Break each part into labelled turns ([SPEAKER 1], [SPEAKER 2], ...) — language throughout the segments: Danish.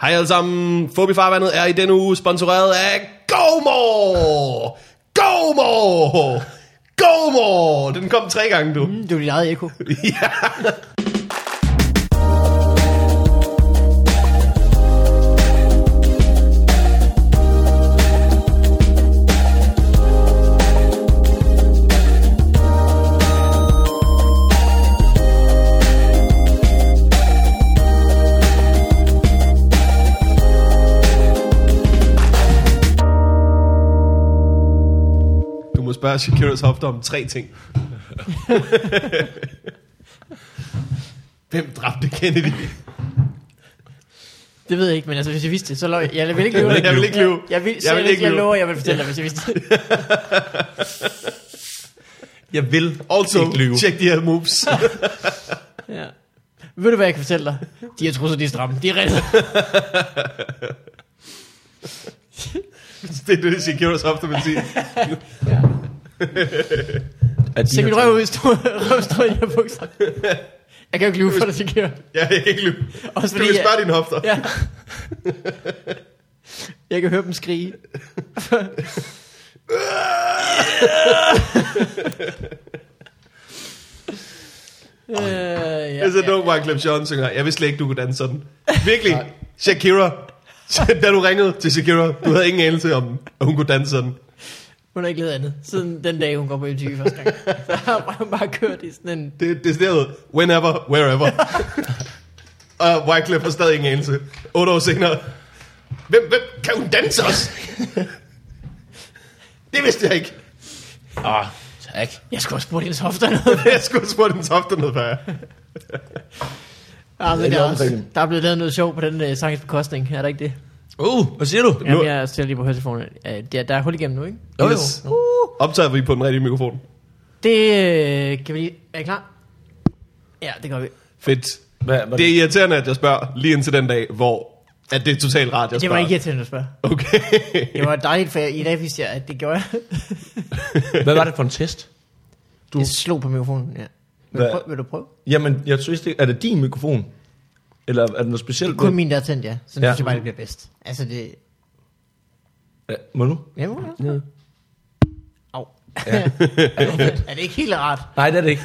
[SPEAKER 1] Hej alle sammen. Fobifarvandet er i denne uge sponsoreret af GoMore! GoMore! GoMore! Den kom tre gange, du.
[SPEAKER 2] Mm, det er jo dit eget ekko.
[SPEAKER 1] ja. Du må spørge Shakiras hofte om tre ting. Hvem dræbte Kennedy?
[SPEAKER 2] Det ved jeg ikke, men altså, hvis jeg vidste det, så løg jeg. Jeg vil ikke lyve.
[SPEAKER 1] Jeg vil ikke lyve.
[SPEAKER 2] Jeg, jeg vil, jeg, vil ikke jeg lover, jeg vil fortælle dig, hvis jeg vidste det.
[SPEAKER 3] Jeg vil
[SPEAKER 1] Also,
[SPEAKER 3] ikke lyve.
[SPEAKER 1] check de her moves.
[SPEAKER 2] Ja. Ved du, hvad jeg kan fortælle dig? De her trusser, de er stramme. De er reddet.
[SPEAKER 1] det er det, Shakiras hofte vil sige.
[SPEAKER 3] At de
[SPEAKER 2] Se
[SPEAKER 3] her
[SPEAKER 2] min
[SPEAKER 3] to-
[SPEAKER 2] røv ud, stå, røv stå i de her bukser. Jeg kan jo ikke lyve for dig, Shakira.
[SPEAKER 1] Jeg kan ikke lyve.
[SPEAKER 2] Også
[SPEAKER 1] Men du kan
[SPEAKER 2] jeg-
[SPEAKER 1] spørge dine hofter.
[SPEAKER 2] Ja. Jeg kan høre dem skrige. Øh, ja,
[SPEAKER 1] Jeg sidder
[SPEAKER 2] ja.
[SPEAKER 1] dog bare Clem Sean synger, jeg vidste slet ikke, du kunne danse sådan. Virkelig, Shakira. da du ringede til Shakira, du havde ingen anelse om, at hun kunne danse sådan.
[SPEAKER 2] Hun har ikke lavet andet, siden den dag, hun går på MTV første gang. Så har hun bare kørt i sådan en...
[SPEAKER 1] Det, det er stedet, whenever, wherever. og Wyclef har stadig ingen anelse. Otte år senere. Hvem, hvem kan hun danse også? det vidste jeg ikke.
[SPEAKER 3] Ah, tak.
[SPEAKER 2] Jeg skulle også bruge hendes hofter noget.
[SPEAKER 1] Jeg skulle have spurgt hendes hofter noget før.
[SPEAKER 2] Ja, men
[SPEAKER 4] Det
[SPEAKER 2] der,
[SPEAKER 4] er
[SPEAKER 2] er også,
[SPEAKER 4] omkring.
[SPEAKER 2] der er blevet lavet noget sjov på den uh, sangens bekostning, er der ikke det?
[SPEAKER 3] Uh, hvad siger du?
[SPEAKER 1] Nu-
[SPEAKER 2] Jamen, jeg stiller lige på høretelefonen. Uh, der, der er hul igennem nu, ikke?
[SPEAKER 3] Jo, jo.
[SPEAKER 1] Yes. Optager vi på den rigtige mikrofon.
[SPEAKER 2] Det øh, kan vi lige... Er I klar? Ja, det gør vi.
[SPEAKER 1] Fedt.
[SPEAKER 3] Hvad, hvad
[SPEAKER 1] Det er irriterende, at jeg spørger lige indtil den dag, hvor at det er totalt rart, jeg
[SPEAKER 2] Det
[SPEAKER 1] spørger.
[SPEAKER 2] var ikke irriterende at spørge.
[SPEAKER 1] Okay.
[SPEAKER 2] Det var dejligt, for jeg, i dag vidste jeg, at det gjorde jeg.
[SPEAKER 3] hvad var det for en test?
[SPEAKER 2] Du. Jeg slog på mikrofonen, ja. Vil du
[SPEAKER 3] Hvad?
[SPEAKER 2] prøve? Vil du prøve?
[SPEAKER 3] Jamen, jeg synes det, er det din mikrofon? Eller er det noget
[SPEAKER 2] Det
[SPEAKER 3] specielt?
[SPEAKER 2] er kun min, der er tændt, ja. Så nu
[SPEAKER 3] Ja.
[SPEAKER 2] synes jeg bare, det bliver bedst. Altså, det...
[SPEAKER 3] Ja, må du?
[SPEAKER 2] Ja, må jeg?
[SPEAKER 3] Ja.
[SPEAKER 2] Au. er det ikke helt rart?
[SPEAKER 3] Nej, det er det ikke.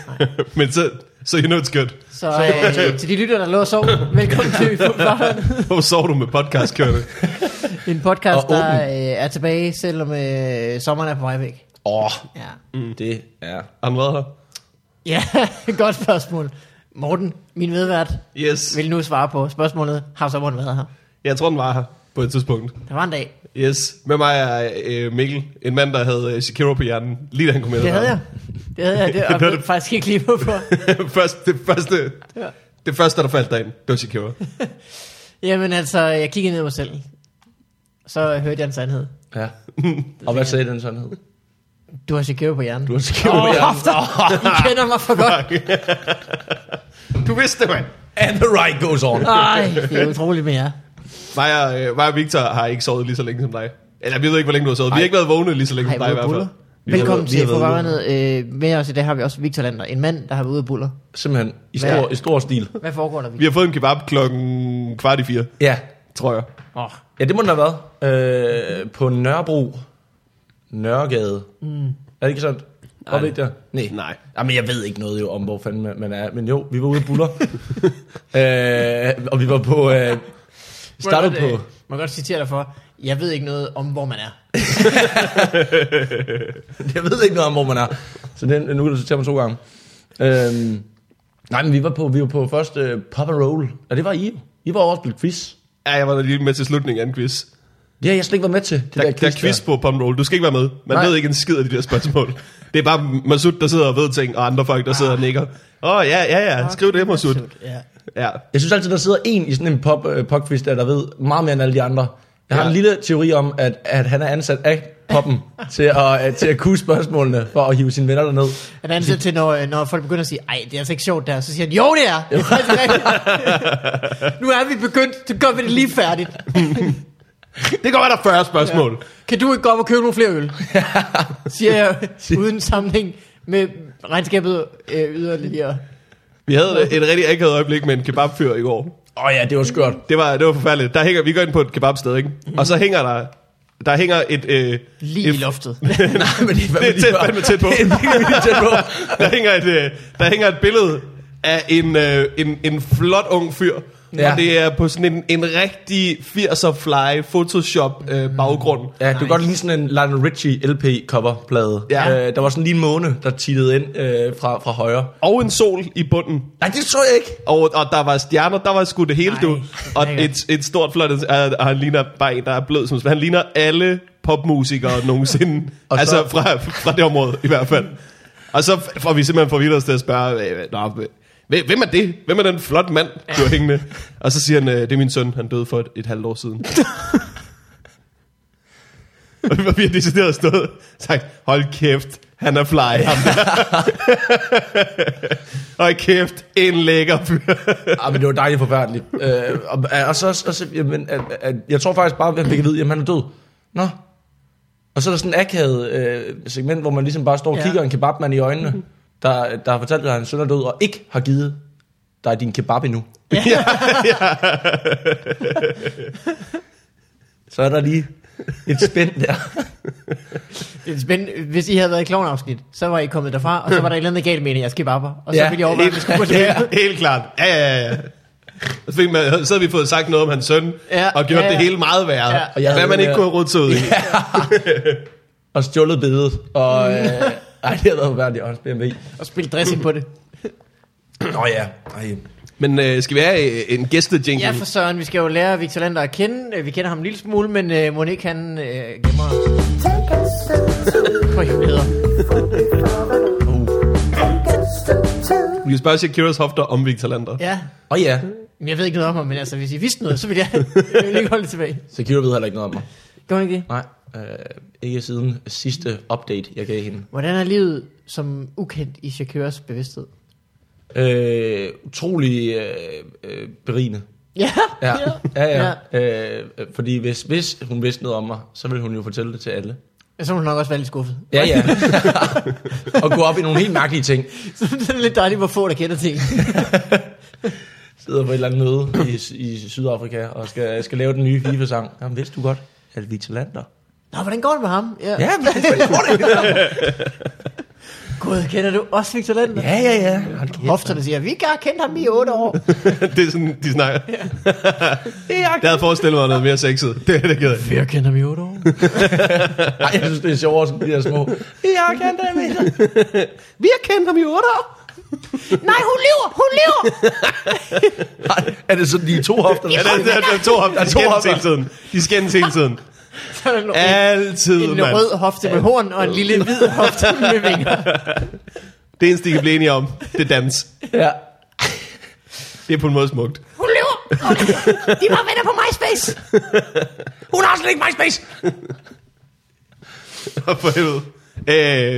[SPEAKER 1] Men så, så you know it's good.
[SPEAKER 2] Så øh, til de lytter, der lå og sov, velkommen til Fuld Farvand.
[SPEAKER 1] Hvor sover du med podcast kørende?
[SPEAKER 2] En podcast,
[SPEAKER 3] Og åben.
[SPEAKER 2] der øh, er tilbage, selvom øh, sommeren er på vej væk.
[SPEAKER 3] Åh, oh,
[SPEAKER 2] Ja.
[SPEAKER 3] mm. det er...
[SPEAKER 1] Han været her?
[SPEAKER 2] Ja, godt spørgsmål. Morten, min medvært,
[SPEAKER 1] Yes.
[SPEAKER 2] vil nu svare på spørgsmålet, har sommeren været her?
[SPEAKER 1] Jeg tror, den var her på et tidspunkt.
[SPEAKER 2] Der var en dag.
[SPEAKER 1] Yes. Med mig er øh, Mikkel, en mand, der havde øh, Shakira på hjernen, lige da han kom med.
[SPEAKER 2] Det havde jeg. Det havde jeg, det, og
[SPEAKER 1] Det var
[SPEAKER 2] jeg ved
[SPEAKER 1] det-
[SPEAKER 2] faktisk ikke lige hvorfor.
[SPEAKER 1] Først, det, første,
[SPEAKER 2] Ja.
[SPEAKER 1] det første, der faldt dig ind, det var Shakira.
[SPEAKER 2] Jamen altså, jeg kiggede ned på mig selv. Så hørte jeg en sandhed.
[SPEAKER 3] Ja. Og hvad sagde den sandhed?
[SPEAKER 2] Du har Shakira på hjernen.
[SPEAKER 3] Du har skrevet
[SPEAKER 2] Åh,
[SPEAKER 3] oh,
[SPEAKER 2] hofter. I kender mig for godt.
[SPEAKER 1] du vidste det, mand.
[SPEAKER 3] And the ride goes on.
[SPEAKER 2] Nej, det er utroligt med jer.
[SPEAKER 1] Mig og, øh, mig og Victor har ikke sovet lige så længe som dig. Eller vi ved ikke, hvor længe du har sovet. Vi har ikke været vågne lige så længe
[SPEAKER 2] Har I
[SPEAKER 1] som dig i
[SPEAKER 2] været
[SPEAKER 1] hvert fald.
[SPEAKER 2] buller? Velkommen
[SPEAKER 3] været- vi har
[SPEAKER 2] til
[SPEAKER 3] været
[SPEAKER 2] programmet. Øh, med os i dag har vi også Victor Lander, en mand, der har været ude og buller.
[SPEAKER 3] Simpelthen i
[SPEAKER 2] Hvad?
[SPEAKER 3] stor, i stor stil.
[SPEAKER 2] Hvad foregår der,
[SPEAKER 1] Vi
[SPEAKER 2] Victor?
[SPEAKER 1] har fået en kebab klokken kvart i fire,
[SPEAKER 3] Ja,
[SPEAKER 1] tror jeg.
[SPEAKER 2] Oh,
[SPEAKER 3] ja det må den have været. Øh, på Nørrebro. Nørregade. Mm. Er det ikke sådan? Var det ikke der? Nej.
[SPEAKER 1] Nej.
[SPEAKER 3] Jamen, jeg ved ikke noget jo om, hvor fanden man- man er. Men jo, vi var ude og buller. øh, og vi var på... Øh, vi startede
[SPEAKER 2] må jeg
[SPEAKER 3] på...
[SPEAKER 2] godt, øh, Må jeg godt citere dig for, jeg ved ikke noget om, hvor man er.
[SPEAKER 3] Jeg ved ikke noget om, hvor man er. Så den, nu kan du citere mig to gange. Øhm, nej, men vi var på, vi var på først øh, Papa Roll. Og det var I. jo. I var også blevet quiz.
[SPEAKER 1] Ja, jeg var der lige med til slutningen af en quiz.
[SPEAKER 3] Det har jeg slet ikke været med til. Det
[SPEAKER 1] Der, der, der er quiz på Pump Roll. Du skal ikke være med. Man Nej.
[SPEAKER 3] Nej.
[SPEAKER 1] ved ikke en skid af de der spørgsmål. Det er bare Masud, der sidder og ved ting, og andre folk, der sidder og nikker. Åh, oh, ja, ja, ja. Skriv det, Masud.
[SPEAKER 2] Ja.
[SPEAKER 1] Ja.
[SPEAKER 3] Jeg synes altid, der sidder en i sådan en pop, øh, popquiz, der, der ved meget mere end alle de andre. Jeg har
[SPEAKER 1] Ja.
[SPEAKER 3] en lille teori om, at, at han er ansat af poppen til at, øh, til at kunne spørgsmålene for at hive sine venner derned.
[SPEAKER 2] Han er ansat til, når, øh, når folk begynder at sige, ej, det er altså ikke sjovt der, så siger han, jo det er, det er faktisk rigtigt." Nu er vi begyndt, så gør vi det lige færdigt.
[SPEAKER 1] Det går være, der er 40 spørgsmål. Ja.
[SPEAKER 2] Kan du ikke gå op og købe nogle flere øl? siger jeg, uden sammenhæng med regnskabet øh, yderligere.
[SPEAKER 1] Vi havde et rigtig akavet øjeblik med en kebabfyr i går.
[SPEAKER 3] Åh oh, ja, det var skørt.
[SPEAKER 1] Det var, det var forfærdeligt. Der hænger, vi går ind på et kebabsted, ikke? Og så hænger der, der hænger et, øh,
[SPEAKER 2] Lige i
[SPEAKER 1] et
[SPEAKER 2] loftet.
[SPEAKER 3] Nej, men det er fandme
[SPEAKER 1] Det er
[SPEAKER 3] lige
[SPEAKER 1] tæt-
[SPEAKER 3] før.
[SPEAKER 1] fandme tæt på.
[SPEAKER 3] Det er virkelig tæt på.
[SPEAKER 1] der hænger et, øh, der hænger et billede af en, øh, en, en flot ung fyr. Ja.
[SPEAKER 3] Ja.
[SPEAKER 1] Og det er på sådan en, en rigtig 80'er fly Photoshop øh, baggrund.
[SPEAKER 3] Ja, det var godt lige sådan en Lionel Richie LP coverplade.
[SPEAKER 1] Ja.
[SPEAKER 3] Øh, der var sådan lige en måne, der tittede ind øh, fra, fra højre.
[SPEAKER 1] Og en sol i bunden.
[SPEAKER 3] Nej, det tror jeg ikke.
[SPEAKER 1] Og, og der var stjerner, der var sgu det hele,
[SPEAKER 2] Ej,
[SPEAKER 1] du. Og
[SPEAKER 2] lækkert.
[SPEAKER 1] et, et stort flot... øh, Og han ligner bare en, der er blød som... Han ligner alle popmusikere nogensinde.
[SPEAKER 3] Og så-
[SPEAKER 1] altså fra, fra det område, i hvert fald. Og så får vi simpelthen forvildet os til at spørge... øh, Nå, hvem- hvem er det? Hvem er den flot mand, du har hængende? Og så siger han, øh, det er min søn, han døde for et, et halvt år siden. og vi var- vi har decideret stået og sagt, hold kæft, han er fly, ham der. Hold kæft, en lækker fyr.
[SPEAKER 3] Ah, men det var dejligt forfærdeligt. Øh, og, og, så, og så, jamen, at, at, jeg tror faktisk bare, at vi kan vide, at han er død. Nå. Og så er der sådan en akavet øh, segment, hvor man ligesom bare står og
[SPEAKER 2] Ja.
[SPEAKER 3] kigger en kebabmand i øjnene, der, der har fortalt dig, at han søn er død, og ikke har givet dig din kebab endnu.
[SPEAKER 1] ja, ja.
[SPEAKER 3] Så er der lige et spænd der.
[SPEAKER 2] Men hvis I havde været i klovnafsnit, så var I kommet derfra, og så var der et eller andet galt med en af jeres kebabber, og så
[SPEAKER 3] Ja,
[SPEAKER 2] ville jeg overveje, at vi
[SPEAKER 1] Helt,
[SPEAKER 2] skulle på det.
[SPEAKER 1] helt, helt klart. Ja, ja, ja. Og Så, fik man, så havde vi fået sagt noget om hans søn,
[SPEAKER 2] Ja,
[SPEAKER 1] ja, og gjort
[SPEAKER 2] ja,
[SPEAKER 1] ja,
[SPEAKER 2] ja.
[SPEAKER 1] ja. det hele meget værre.
[SPEAKER 2] Ja.
[SPEAKER 1] Ja.
[SPEAKER 3] Og jeg
[SPEAKER 1] Hvad
[SPEAKER 3] havde
[SPEAKER 1] man
[SPEAKER 3] det
[SPEAKER 1] ikke
[SPEAKER 3] der-
[SPEAKER 1] kunne have rodet sig ud i.
[SPEAKER 3] Og stjålet bedet. Og, øh, ej, det har været forfærdeligt. Og hans BMW.
[SPEAKER 2] Og spille dressing på det.
[SPEAKER 3] Nå ja. Ej.
[SPEAKER 1] Men øh, skal vi have øh, en gæstejingle?
[SPEAKER 2] Ja, for Søren, vi skal jo lære Victor Lander at kende. Øh, Vi kender ham en lille smule, men øh, Monique, han øh, gemmer
[SPEAKER 4] Take us to,
[SPEAKER 2] på hemmeligheder.
[SPEAKER 4] take us to, to.
[SPEAKER 1] Vi kan spørge Shakiras hofter om Victor Lander. Ja.
[SPEAKER 2] Ja,
[SPEAKER 3] Og ja,
[SPEAKER 2] men jeg ved ikke noget om ham, men altså, hvis I vidste noget, så ville jeg, jeg ville ikke holde det tilbage.
[SPEAKER 3] Sekiro ved heller ikke noget om mig.
[SPEAKER 2] Gør man ikke det?
[SPEAKER 3] Nej, øh, ikke siden sidste update, jeg gav hende.
[SPEAKER 2] Hvordan er livet som ukendt i Shakiras bevidsthed?
[SPEAKER 3] Øh, utrolig øh, øh, berigende.
[SPEAKER 2] Ja,
[SPEAKER 3] Ja, ja, ja. ja. Øh, øh, fordi hvis, hvis hun vidste noget om mig, så ville hun jo fortælle det til alle.
[SPEAKER 2] ja. Så må hun nok også være lidt skuffet.
[SPEAKER 3] Ja, ja. og gå op i nogle helt mærkelige ting.
[SPEAKER 2] Så det er lidt dejligt, hvor få der kender ting.
[SPEAKER 3] Sidder på et eller andet møde i, i Sydafrika og skal, skal lave den nye FIFA-sang. Jamen, vidste du godt, at vi er talander?
[SPEAKER 2] Nå, hvordan går det med ham? Ja.
[SPEAKER 3] Ja, men selvfølgelig går det.
[SPEAKER 2] Gud, kender du også Victor Lander?
[SPEAKER 3] Ja, ja, ja. Hold kæft.
[SPEAKER 2] Hofterne siger, vi har kendt ham i otte år.
[SPEAKER 1] det er sådan, de snakker. Ja. det havde forestillet mig noget mere sexet. Det, det gider jeg.
[SPEAKER 2] Vi har kendt ham i otte år.
[SPEAKER 3] Ej, jeg synes, det er sjovere, som de der små. Jeg har kendt dig, Mikkel.
[SPEAKER 1] Vi har kendt ham i otte år.
[SPEAKER 2] Nej, hun lyver! Hun lyver!
[SPEAKER 3] Ej, Er det sådan, de er to hofter?
[SPEAKER 1] Ja, der, der, der er to hofter. De
[SPEAKER 3] Der er to
[SPEAKER 1] skændes
[SPEAKER 3] hofter.
[SPEAKER 1] hele tiden. De skændes hele tiden.
[SPEAKER 2] Så er der en,
[SPEAKER 1] Altid,
[SPEAKER 2] en, en
[SPEAKER 1] mand.
[SPEAKER 2] rød hofte med horn og en lille hvid hofte med vinger.
[SPEAKER 1] Det eneste, de kan blive enige om, det er dans.
[SPEAKER 3] Ja.
[SPEAKER 1] Det er på en måde smukt.
[SPEAKER 2] Hun lyver! De var venner på MySpace!
[SPEAKER 3] Hun har slet ikke MySpace.
[SPEAKER 1] Og for helvede.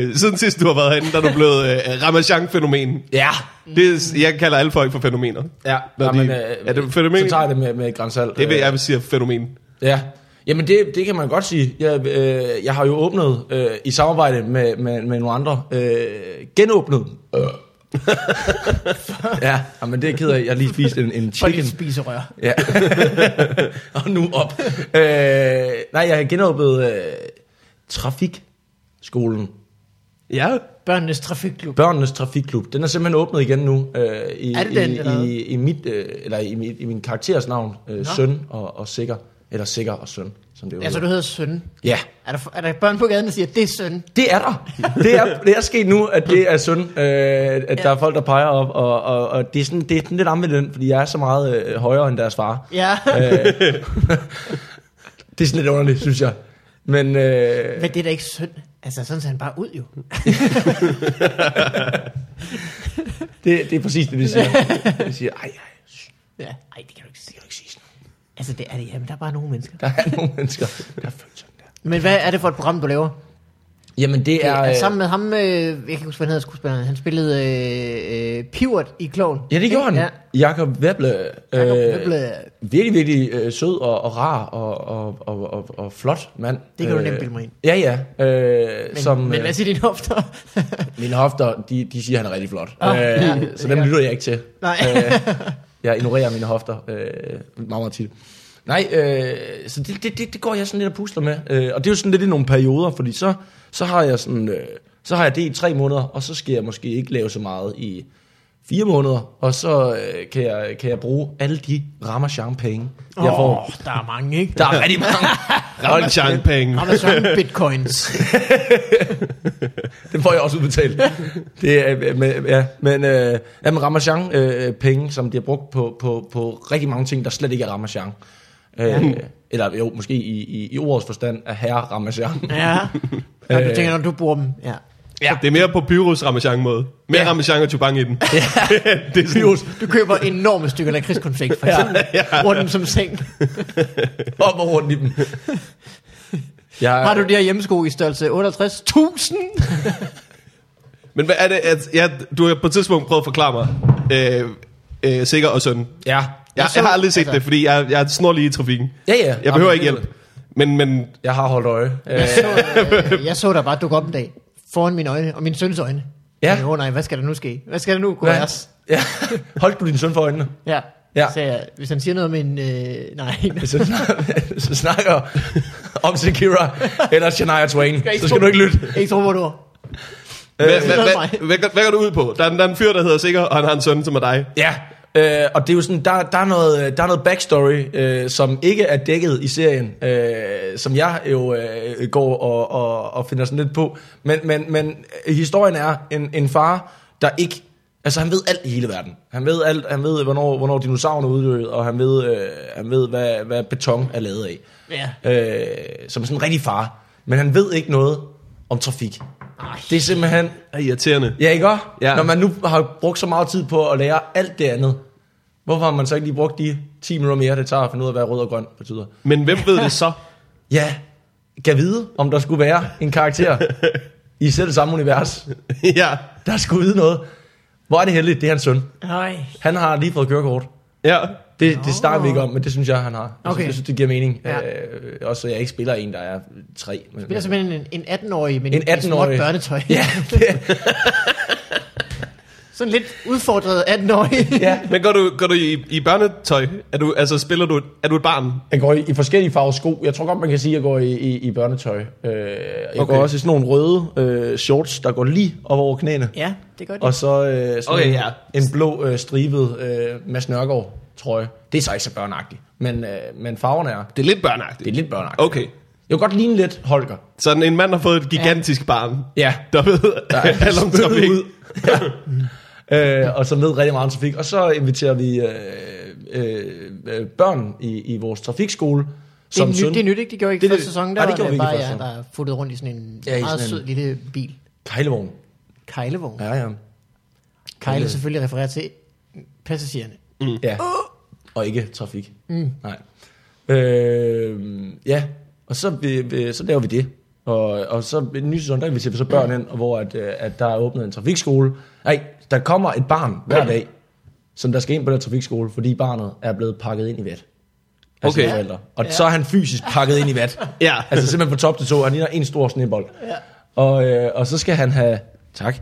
[SPEAKER 1] Øh, siden sidst du har været herinde, der er du blevet øh, Ramachan-fænomen.
[SPEAKER 3] Ja.
[SPEAKER 1] Mm. Det, jeg kalder alle folk for fænomener.
[SPEAKER 3] Ja,
[SPEAKER 1] Når
[SPEAKER 3] Jamen, øh,
[SPEAKER 1] de- er det fænomen?
[SPEAKER 3] Så tager jeg det med, med grænsalt. øh,
[SPEAKER 1] Det vil jeg sige er fænomen.
[SPEAKER 3] Ja. Jamen det, det kan man godt sige. Jeg, øh, jeg har jo åbnet øh, i samarbejde med, med, med nogle andre. Øh, genåbnet. Øh. ja, men det er jeg ked af. Jeg har lige spist en, en
[SPEAKER 2] Og
[SPEAKER 3] chicken.
[SPEAKER 2] de spiser rør.
[SPEAKER 3] Ja. og nu op. Øh, nej, jeg har genåbnet øh, Trafikskolen.
[SPEAKER 1] Ja.
[SPEAKER 2] Børnenes trafikklub.
[SPEAKER 3] Børnenes Trafikklub. Den er simpelthen åbnet igen nu. Øh, i,
[SPEAKER 2] Er det den,
[SPEAKER 3] i,
[SPEAKER 2] eller hvad?
[SPEAKER 3] i, i, mit, øh, eller i, mit, i min karakteres navn. Øh, søn og, og sikker. Eller sikker og søn, som det jo
[SPEAKER 2] Altså, du
[SPEAKER 3] hedder.
[SPEAKER 2] hedder søn.
[SPEAKER 3] Ja,
[SPEAKER 2] Er der, er der børn på gaden, der siger, det er søn?
[SPEAKER 3] det er der. Det er, det er sket nu, at det er søn. Øh, at ja. der er folk, der peger op. Og, og, og det, er sådan, det er sådan lidt ambivalent, fordi jeg er så meget øh, højere end deres far.
[SPEAKER 2] Ja.
[SPEAKER 3] Øh, det er sådan lidt underligt, synes jeg. Men øh,
[SPEAKER 2] Men det er da ikke synd. Altså, sådan ser han bare ud jo.
[SPEAKER 3] det, det er præcis det, de siger. De siger, ej, ej, shh, det
[SPEAKER 2] Ja. Ej, det kan du ikke sige.
[SPEAKER 3] kan du ikke sige sådan. noget."
[SPEAKER 2] Altså, det er det. Ja, men der er bare nogle mennesker.
[SPEAKER 3] Der er nogle mennesker, der føler sådan der.
[SPEAKER 2] Men hvad er det for et program, du laver?
[SPEAKER 3] Jamen, det
[SPEAKER 2] Ja,
[SPEAKER 3] er...
[SPEAKER 2] er
[SPEAKER 3] Øh,
[SPEAKER 2] sammen med ham, øh, jeg kan ikke huske, hvad han hedder skuespilleren, han spillede øh, øh, Pivot i Kloven.
[SPEAKER 3] ja, det gjorde han.
[SPEAKER 2] Ja.
[SPEAKER 3] Jakob Weble. øh,
[SPEAKER 2] Jakob Weble.
[SPEAKER 3] Virkelig, virkelig øh, sød og, og rar og, og, og, og, og flot mand.
[SPEAKER 2] Det kan du
[SPEAKER 3] Øh,
[SPEAKER 2] nemt bilde mig ind.
[SPEAKER 3] Ja, ja. Øh,
[SPEAKER 2] Men,
[SPEAKER 3] som,
[SPEAKER 2] men
[SPEAKER 3] øh,
[SPEAKER 2] hvad siger dine hofter?
[SPEAKER 3] Mine hofter, de, de siger, at han er rigtig flot.
[SPEAKER 2] Ah,
[SPEAKER 3] øh,
[SPEAKER 2] ja, det
[SPEAKER 3] så
[SPEAKER 2] er
[SPEAKER 3] dem
[SPEAKER 2] godt.
[SPEAKER 3] lytter jeg ikke til.
[SPEAKER 2] Nej.
[SPEAKER 3] Øh, Jeg ignorerer mine hofter øh, meget, meget tit. Nej, øh, så det, det, det, det går jeg sådan lidt og pusler med. Øh, og det er jo sådan lidt i nogle perioder, fordi så, så har jeg sådan, øh, så har jeg det i tre måneder, og så skal jeg måske ikke lave så meget i fire måneder, og så øh, kan, jeg, kan jeg bruge alle de rammer champagne, jeg oh.
[SPEAKER 2] Åh,
[SPEAKER 3] får.
[SPEAKER 2] oh, der er mange, ikke?
[SPEAKER 3] Der er rigtig mange.
[SPEAKER 1] Ramme champagne.
[SPEAKER 2] Har der sådan bitcoins?
[SPEAKER 3] Den får jeg også udbetalt. Det er, øh, med, ja, men, øh, ja, men Ramachan øh, penge, som de har brugt på, på, på rigtig mange ting, der slet ikke er Ramachan. Øh, eller jo, måske i, i, i ordets forstand er herre Ramachan.
[SPEAKER 2] Ja. Når
[SPEAKER 3] Øh.
[SPEAKER 2] du tænker, når du bruger dem. Ja.
[SPEAKER 1] Ja. Det er mere på Pyrus Ramachan-måde. Mere ja.
[SPEAKER 3] Ja.
[SPEAKER 1] Ramachan og Chubang i den. Ja. det er sådan,
[SPEAKER 2] Pyrus, du køber enorme stykker lakridskonfekt, for eksempel. Ja, ja. Bruger dem som seng.
[SPEAKER 3] Op og rundt i dem. Jeg,
[SPEAKER 2] Har du de her hjemmesko i størrelse
[SPEAKER 3] Øh.
[SPEAKER 2] 68.000?
[SPEAKER 1] Men hvad er det, at ja, du har på et tidspunkt prøvet at forklare mig, øh, øh, sikker og sådan.
[SPEAKER 3] Ja.
[SPEAKER 1] Jeg,
[SPEAKER 2] så-
[SPEAKER 1] jeg, har aldrig set
[SPEAKER 2] altså-
[SPEAKER 1] altså. det, fordi jeg, jeg snor lige i trafikken.
[SPEAKER 3] Ja, ja.
[SPEAKER 1] Jeg behøver
[SPEAKER 3] Jamen,
[SPEAKER 1] ikke
[SPEAKER 3] det-
[SPEAKER 1] hjælp. Men, men
[SPEAKER 3] Jeg har holdt øje. Øh,
[SPEAKER 2] Jeg så, øh, jeg så der bare dukke op en dag foran mine øjne og min søns øjne.
[SPEAKER 3] Ja.
[SPEAKER 2] Ja. Åh oh, nej, hvad skal der nu ske? Hvad skal der nu gå
[SPEAKER 3] nej.
[SPEAKER 2] jeres?
[SPEAKER 3] ja. Holdt du din søn for øjnene?
[SPEAKER 2] Ja.
[SPEAKER 3] Ja.
[SPEAKER 2] ja. Så jeg, hvis han siger noget om en... Øh, nej,
[SPEAKER 3] Så, snak- så snakker om Shakira eller Shania Twain, så skal du ikke lytte.
[SPEAKER 2] Ikke tro på et ord.
[SPEAKER 1] hvad,
[SPEAKER 2] det
[SPEAKER 1] hvad,
[SPEAKER 2] er
[SPEAKER 1] hvad,
[SPEAKER 2] mig.
[SPEAKER 1] hvad, hvad, hvad går du ud på? Der er, en- der er en fyr, der hedder Sikker, og han har en søn, som er dig.
[SPEAKER 3] Ja, øh, og det er jo sådan, der, der, er noget, der er noget backstory, øh, som ikke er dækket i serien, øh, som jeg jo øh, går og, og, og finder sådan lidt på. Men, men, men øh, historien er en, en far, der ikke... Altså, han ved alt i hele verden. Han ved alt. Han ved, hvornår, hvornår dinosaurerne uddøde, og han ved, øh, han ved hvad, hvad beton er lavet af.
[SPEAKER 2] Ja.
[SPEAKER 3] Øh, som sådan en rigtig far. Men han ved ikke noget om trafik.
[SPEAKER 2] Ej.
[SPEAKER 3] Det er simpelthen...
[SPEAKER 1] Er irriterende.
[SPEAKER 3] Ja, ikke også?
[SPEAKER 1] Ja.
[SPEAKER 3] Ja. Når man nu har brugt så meget tid på at lære alt det andet, hvorfor har man så ikke lige brugt de 10 minutter mere, det tager at finde ud af, hvad rød og grøn betyder?
[SPEAKER 1] Men hvem ved det så?
[SPEAKER 3] Ja, kan vide, om der skulle være en karakter i selv samme univers,
[SPEAKER 1] ja.
[SPEAKER 3] der skulle vide noget. Hvor er det heldigt, det er hans søn.
[SPEAKER 2] Nej.
[SPEAKER 3] Han har lige fået kørekort.
[SPEAKER 1] Ja.
[SPEAKER 3] Det, det snakker vi ikke om, men det synes jeg, han har. Jeg synes,
[SPEAKER 2] Okay.
[SPEAKER 3] jeg synes det giver mening.
[SPEAKER 2] Ja.
[SPEAKER 3] Ja. Øh, også, at jeg ikke spiller en, der er tre. Men,
[SPEAKER 2] Det er simpelthen en, en 18-årig, men
[SPEAKER 3] En
[SPEAKER 2] en 18 småt
[SPEAKER 3] 18-årig.
[SPEAKER 2] børnetøj.
[SPEAKER 3] ja, det,
[SPEAKER 2] Sådan lidt udfordret 18-årig.
[SPEAKER 3] ja.
[SPEAKER 1] Men går du, går du i, i børnetøj? Er du, altså, spiller du, er du et barn?
[SPEAKER 3] Jeg går i, i forskellige farver sko. Jeg tror godt, man kan sige, at jeg går i, i, i børnetøj. Øh, jeg
[SPEAKER 1] Okay.
[SPEAKER 3] okay. går også i sådan nogle røde øh, shorts, der går lige op over knæene.
[SPEAKER 2] ja, det gør det.
[SPEAKER 3] Og så øh, sådan
[SPEAKER 1] Okay,
[SPEAKER 3] en,
[SPEAKER 1] ja.
[SPEAKER 3] en blå øh, stribet øh, Mads Nørgaard trøje. Det er så ikke så børneagtigt, men, øh, men farverne er,
[SPEAKER 1] Det er lidt børnagtigt.
[SPEAKER 3] det er lidt børneagtigt.
[SPEAKER 1] Okay.
[SPEAKER 3] Jeg kan godt ligne lidt Holger.
[SPEAKER 1] Så en mand har fået et gigantisk ja. barn,
[SPEAKER 3] Ja.
[SPEAKER 1] der ved alt om trafik.
[SPEAKER 3] ud. Ja. øh, og som ved rigtig meget om trafik. Og så inviterer vi øh, øh, øh, børn i, i vores trafikskole.
[SPEAKER 2] det, er
[SPEAKER 3] Som
[SPEAKER 2] nyt,
[SPEAKER 3] søn.
[SPEAKER 2] det er nyt, ikke? Det gjorde I ikke
[SPEAKER 3] Det er
[SPEAKER 2] det, første
[SPEAKER 3] nyt.
[SPEAKER 2] sæson. Der
[SPEAKER 3] Nej, det
[SPEAKER 2] var
[SPEAKER 3] gjorde vi ikke i
[SPEAKER 2] bare,
[SPEAKER 3] første
[SPEAKER 2] ja,
[SPEAKER 3] sæson.
[SPEAKER 2] der futtede rundt i sådan en
[SPEAKER 3] Ja, i
[SPEAKER 2] meget
[SPEAKER 3] sådan en-
[SPEAKER 2] sød lille bil.
[SPEAKER 3] Kejlevogn.
[SPEAKER 2] Kejlevogn. Ja.
[SPEAKER 3] Ja, ja.
[SPEAKER 2] Kejle selvfølgelig refererer til passagererne.
[SPEAKER 3] Ja. Mm. Uh. Og ikke trafik. Mm. Nej. Øh, ja, og så, vi, vi- så laver vi det. Og, og så i den nye sæson, der inviterer vi så børn ind, og hvor at, øh, at der er åbnet en trafikskole. Nej, der kommer et barn hver dag, som der skal ind på den trafikskole, fordi barnet er blevet pakket ind i vat. af sine
[SPEAKER 1] Okay.
[SPEAKER 3] Forældre. Og så er han fysisk pakket ind i vat.
[SPEAKER 1] Ja.
[SPEAKER 3] Altså simpelthen på top til to, han ligner en stor snebold. Ja. Og, øh, og så skal han have... Tak.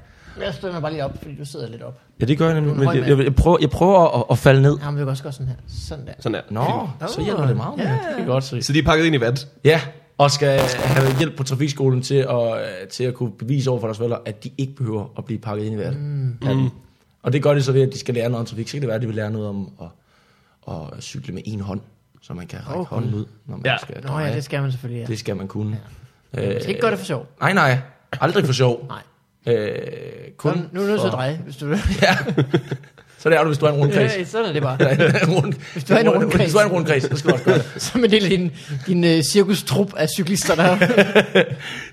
[SPEAKER 2] Jeg støtter mig bare lige op, fordi du sidder lidt op.
[SPEAKER 3] Ja, det gør jeg nu.
[SPEAKER 2] men jeg- jeg-
[SPEAKER 3] jeg, prøver, jeg prøver at, at falde ned.
[SPEAKER 2] Ja, men vi kan også gøre sådan her. Sådan der.
[SPEAKER 1] Sådan der.
[SPEAKER 3] Nå, Ah, så hjælper det meget med. Ja. Det kan jeg godt se.
[SPEAKER 1] Så de er pakket ind i vand.
[SPEAKER 3] Ja, og skal have hjælp på trafikskolen til at, øh, til at kunne bevise over for deres forældre, at de ikke behøver at blive pakket ind i verden. Mm. Og det gør de så ved, at de skal lære noget om trafik. Så kan det være, at de vil lære noget om at, at cykle med en hånd, så man kan række
[SPEAKER 2] Okay.
[SPEAKER 3] hånden ud, når man
[SPEAKER 1] Ja.
[SPEAKER 3] ja. skal
[SPEAKER 2] Nå
[SPEAKER 3] dreje.
[SPEAKER 2] ja, det skal man selvfølgelig, ja.
[SPEAKER 3] det skal man kunne. Ja.
[SPEAKER 2] Man skal ikke gøre det for sjov.
[SPEAKER 3] Nej, nej. Aldrig for sjov.
[SPEAKER 2] Nej.
[SPEAKER 3] Øh,
[SPEAKER 2] Kun
[SPEAKER 3] kun
[SPEAKER 2] nu, nu er du nødt til at dreje, hvis du vil.
[SPEAKER 3] Så det er du, hvis du er en rundkreds.
[SPEAKER 2] Ja, sådan er det bare.
[SPEAKER 3] Rund, hvis
[SPEAKER 2] du er en rundkreds.
[SPEAKER 3] Hvis du er en rundkreds, så skal du også gøre det.
[SPEAKER 2] Som en del af din, din uh, cirkustrup af cyklister, der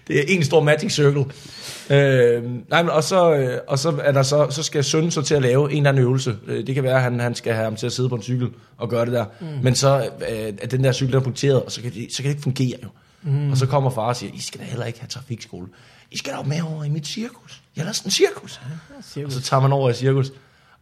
[SPEAKER 3] Det er en stor magic circle. Øh, nej, men og så, øh, og så, er der så, så skal sønnen så til at lave en eller anden øvelse. Øh, det kan være, at han, han skal have ham til at sidde på en cykel og gøre det der. Mm. Men så øh, er den der cykel der er punkteret, og så kan, det, så kan det ikke fungere jo. Mm. Og så kommer far og siger, I skal da heller ikke have trafikskole. I skal da med over i mit cirkus. Jeg lader sådan en cirkus. Og så tager man over i cirkus,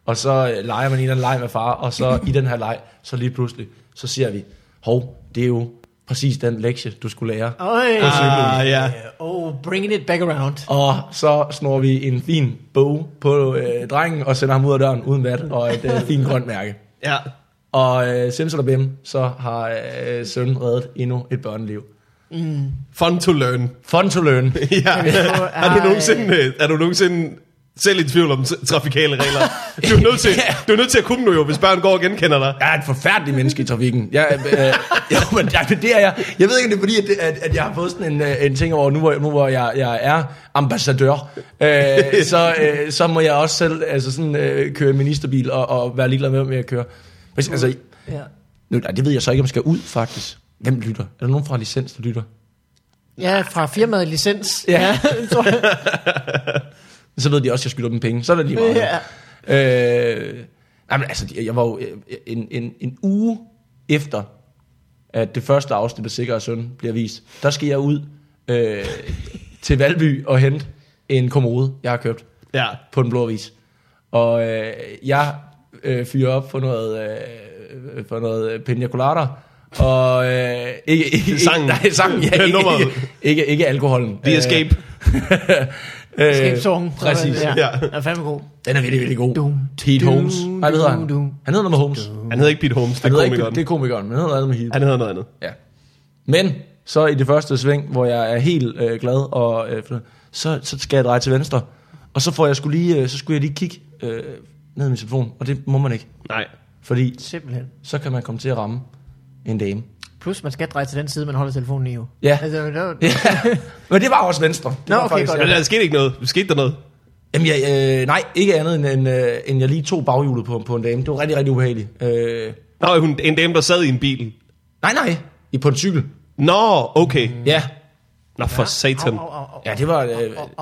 [SPEAKER 3] og så øh, leger man en eller anden leg med far, og så i den her leg, så lige pludselig, så siger vi, hov, det er jo præcis den lektie, du skulle lære.
[SPEAKER 2] Øj,
[SPEAKER 1] Ah, ja.
[SPEAKER 2] oh, bringing it back around.
[SPEAKER 3] Og så snor vi en fin bog på øh, drengen og sender ham ud af døren uden vat og et øh, fint grønt mærke.
[SPEAKER 1] Ja.
[SPEAKER 3] Og øh, Simsalabim, så har øh, sønnen reddet endnu et børneliv.
[SPEAKER 1] Fun to learn.
[SPEAKER 3] Fun to learn.
[SPEAKER 1] Ja.
[SPEAKER 2] Kan vi få-
[SPEAKER 1] er, du
[SPEAKER 2] Ej.
[SPEAKER 1] nogensinde, øh, er du nogensinde selv i tvivl om t- trafikale regler? Du er nødt til, du er nødt til at kunne nu jo, hvis børn går og genkender dig.
[SPEAKER 3] Jeg er et forfærdeligt menneske i trafikken. Jeg, øh, øh, jo, men jeg, men det er jeg. Jeg ved ikke, om det er fordi, at, det- at, at jeg har fået sådan en, øh, en ting over, nu hvor, nu, hvor jeg, jeg er ambassadør, øh, så, øh, så må jeg også selv altså sådan, øh, køre ministerbil og, og være ligeglad med, hvem jeg kører. Hvis, altså,
[SPEAKER 2] Ja.
[SPEAKER 3] nu, nej, det ved jeg så ikke, om jeg skal ud, faktisk. Hvem lytter? Er der nogen fra licens, der lytter?
[SPEAKER 2] ja, fra firmaet licens.
[SPEAKER 3] Ja.
[SPEAKER 2] tror jeg.
[SPEAKER 3] Så ved de også, at jeg skylder dem penge. Så er det lige meget.
[SPEAKER 2] Ja.
[SPEAKER 3] Øh, nej, men altså, jeg var jo øh, en, en, en uge efter, at det første afsnit af Sikker og Søn bliver vist, der skal jeg ud øh, til Valby og hente en kommode, jeg har købt
[SPEAKER 1] Ja.
[SPEAKER 3] på den blå avis. Og øh, jeg øh, fyrer op for noget, øh, for noget pina colada, og øh, ikke, ikke, ikke,
[SPEAKER 1] Sangen.
[SPEAKER 3] Nej, sangen, ja, ikke,
[SPEAKER 1] Nummeret.
[SPEAKER 3] ikke, ikke, ikke alkoholen.
[SPEAKER 1] The Escape.
[SPEAKER 3] Øh,
[SPEAKER 2] Escape song.
[SPEAKER 3] Præcis.
[SPEAKER 2] Ja.
[SPEAKER 1] Ja.
[SPEAKER 2] ja. Den er fandme god.
[SPEAKER 3] Den er virkelig, virkelig god.
[SPEAKER 2] Dum,
[SPEAKER 3] Pete
[SPEAKER 2] dum,
[SPEAKER 3] Holmes. Nej, hvad hedder han?
[SPEAKER 2] dum, dum.
[SPEAKER 3] Han hedder noget med Holmes.
[SPEAKER 1] Han hedder ikke Pete Holmes, det
[SPEAKER 3] Han
[SPEAKER 1] er
[SPEAKER 3] hedder ikke,
[SPEAKER 1] komikeren.
[SPEAKER 3] det er komikeren, men han hedder noget med Heat.
[SPEAKER 1] Han hedder noget andet.
[SPEAKER 3] Ja. Men så i det første sving, hvor jeg er helt øh, glad, og øh, for- så, så skal jeg dreje til venstre. Og så, får jeg skulle lige, øh, så skulle jeg lige kigge øh, ned i min telefon, og det må man ikke.
[SPEAKER 1] Nej.
[SPEAKER 3] Fordi
[SPEAKER 2] Simpelthen.
[SPEAKER 3] så kan man komme til at ramme en dame.
[SPEAKER 2] Plus, man skal dreje til den side, man holder telefonen i jo.
[SPEAKER 3] Ja.
[SPEAKER 2] Altså, det var,
[SPEAKER 3] Ja. Men det var også venstre. Det
[SPEAKER 2] Nå,
[SPEAKER 3] var
[SPEAKER 2] okay, godt.
[SPEAKER 1] Men der skete ikke noget. Skete der noget?
[SPEAKER 3] Jamen, jeg, øh, nej, ikke andet end, end, øh, end jeg lige tog baghjulet på, på en dame. Det var rigtig, rigtig ubehageligt. Øh,
[SPEAKER 1] Nå, hun, en dame, der sad i en bil.
[SPEAKER 3] nej, nej, I på en cykel.
[SPEAKER 1] Nå, okay.
[SPEAKER 3] Mm. Ja,
[SPEAKER 1] Nå, for satan.
[SPEAKER 2] Au, au, au.
[SPEAKER 3] Ja, det var, øh,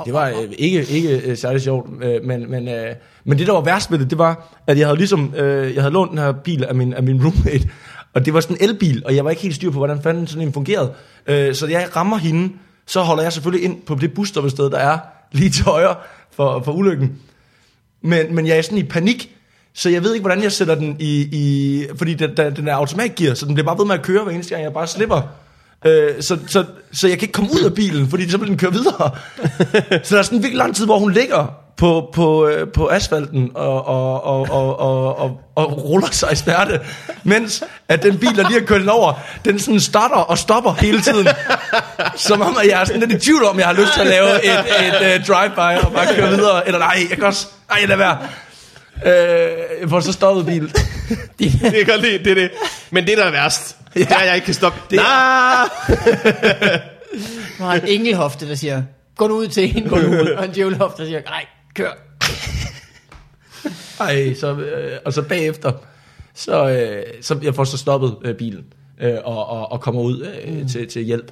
[SPEAKER 3] det var øh, ikke, ikke øh, særlig sjovt, øh, men, men, øh, men det, der var værst ved det, det var, at jeg havde ligesom, øh, jeg havde lånt den her bil af min, af min roommate, og det var sådan en elbil, og jeg var ikke helt styr på, hvordan fanden sådan en fungerede. Øh, så jeg rammer hende, så holder jeg selvfølgelig ind på det busstoppested, der er lige til højre for, for ulykken. Men, men jeg er sådan i panik, så jeg ved ikke, hvordan jeg sætter den i... i fordi den, den, den er automatgear, så den bliver bare ved med at køre hver eneste gang, jeg bare slipper. Øh, så, så, så jeg kan ikke komme ud af bilen, fordi så vil den køre videre. så der er sådan en virkelig lang tid, hvor hun ligger på, på, øh, på asfalten og, og, og, og, og, og, og ruller sig i smerte, mens at den bil, der lige har kørt den over, den sådan starter og stopper hele tiden. Som om, at jeg er sådan lidt i tvivl om, jeg har lyst til at lave et, et uh, drive-by og bare køre videre. Eller nej, jeg kan også... Nej, lad være. Øh, jeg får så stoppet bilen.
[SPEAKER 1] Det er godt lide, det er det. Men det, der er værst, ja. det er, at jeg ikke kan stoppe. Det er...
[SPEAKER 2] Nu har en engelhofte, der siger, gå nu ud til en, gå nu ud. Og en djævelhofte, der siger, nej, kør.
[SPEAKER 3] Ej, så, øh, og så bagefter, så, øh, så jeg får så stoppet øh, bilen øh, og, og, og kommer ud øh, mm. til, til hjælp.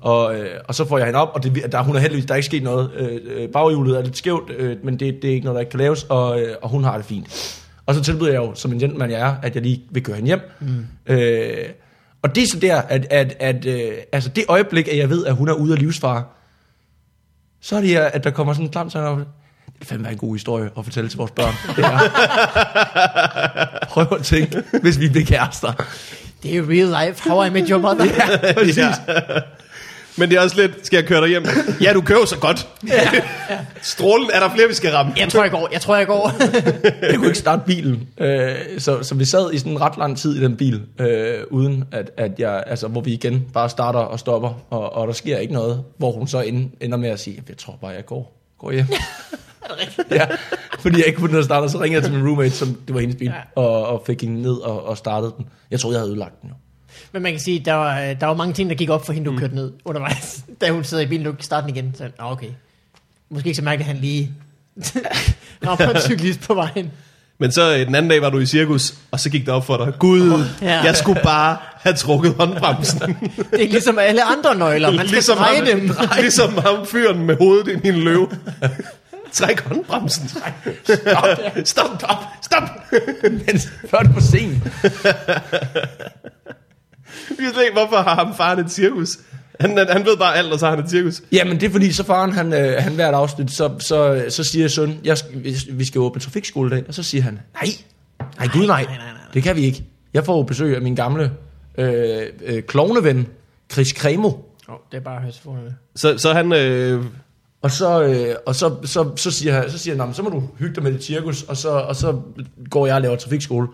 [SPEAKER 3] Og, øh, og så får jeg hende op, og det, der, hun er heldigvis, der er ikke sket noget. Øh, øh, baghjulet er lidt skævt, øh, men det, det er ikke noget, der ikke kan laves, og, øh, og hun har det fint. Og så tilbyder jeg jo, som en gentleman jeg er, at jeg lige vil køre hende hjem. Mm. Øh, og det er så der, at, at, at øh, altså det øjeblik, at jeg ved, at hun er ude af livsfare, så er det, at at der kommer sådan en klam tanke om, det vil fandme være en god historie at fortælle til vores børn. Det er. Prøv at tænke, hvis vi blev kærester.
[SPEAKER 2] Det er real life. How I met your mother.
[SPEAKER 3] Ja, præcis.
[SPEAKER 1] Ja. Men det er også lidt, skal jeg køre dig hjem? Ja, du kører jo så godt. Ja. Strålen, er der flere, vi skal ramme?
[SPEAKER 2] Jeg tror, jeg går. Jeg tror, jeg går.
[SPEAKER 3] Jeg kunne ikke starte bilen. Øh, så, så vi sad i sådan en ret lang tid i den bil, øh, uden at, at jeg, altså, hvor vi igen bare starter og stopper, og, og der sker ikke noget, hvor hun så ender, ender med at sige, jeg tror bare, jeg går, går hjem. ja, fordi jeg ikke kunne finde noget at starte, og så ringede jeg til min roommate, som det var hendes bil, og, og fik hende ned og, og startede den. Jeg troede, jeg havde ødelagt den jo.
[SPEAKER 2] Men man kan sige, der var, øh, der var mange ting, der gik op for hende, du mm. kørte ned undervejs. Da hun sidder i bilen, du kan starte den igen. Så, nå, okay. Måske ikke så mærkeligt, at han lige rammer en cyklist på vejen.
[SPEAKER 1] Men så øh, den anden dag var du i cirkus, og så gik det op for dig. Gud, ja.
[SPEAKER 2] Ja.
[SPEAKER 1] jeg skulle bare have trukket håndbremsen.
[SPEAKER 2] Det er ligesom alle andre nøgler. Man skal ligesom dreje
[SPEAKER 1] ham,
[SPEAKER 2] dem.
[SPEAKER 1] ligesom ham fyren med hovedet ind i en løve. Træk håndbremsen. Stop, stop, stop, stop.
[SPEAKER 3] Men før det var sent.
[SPEAKER 1] Vi ved ikke, hvorfor har ham faren et cirkus. Han, han, han ved bare alt, og så har han et cirkus.
[SPEAKER 3] Jamen det er fordi, så faren han, øh, han hvert afsnit, så, så, så siger søn, jeg, sk- vi- vi skal åbne trafikskole i dag, og så siger han, nej, nej gud nej,
[SPEAKER 2] nej, nej, nej, nej.
[SPEAKER 3] det kan vi ikke. Jeg får jo besøg af min gamle øh, øh, klovneven, Chris Kremo.
[SPEAKER 2] Oh, det er bare høretelefonerne.
[SPEAKER 1] Så, så han... Øh,
[SPEAKER 3] Og så, øh, og så, så, så siger han, så, siger han, "Nå, men så må du hygge dig med dit cirkus, og så, og så går jeg og laver trafikskole.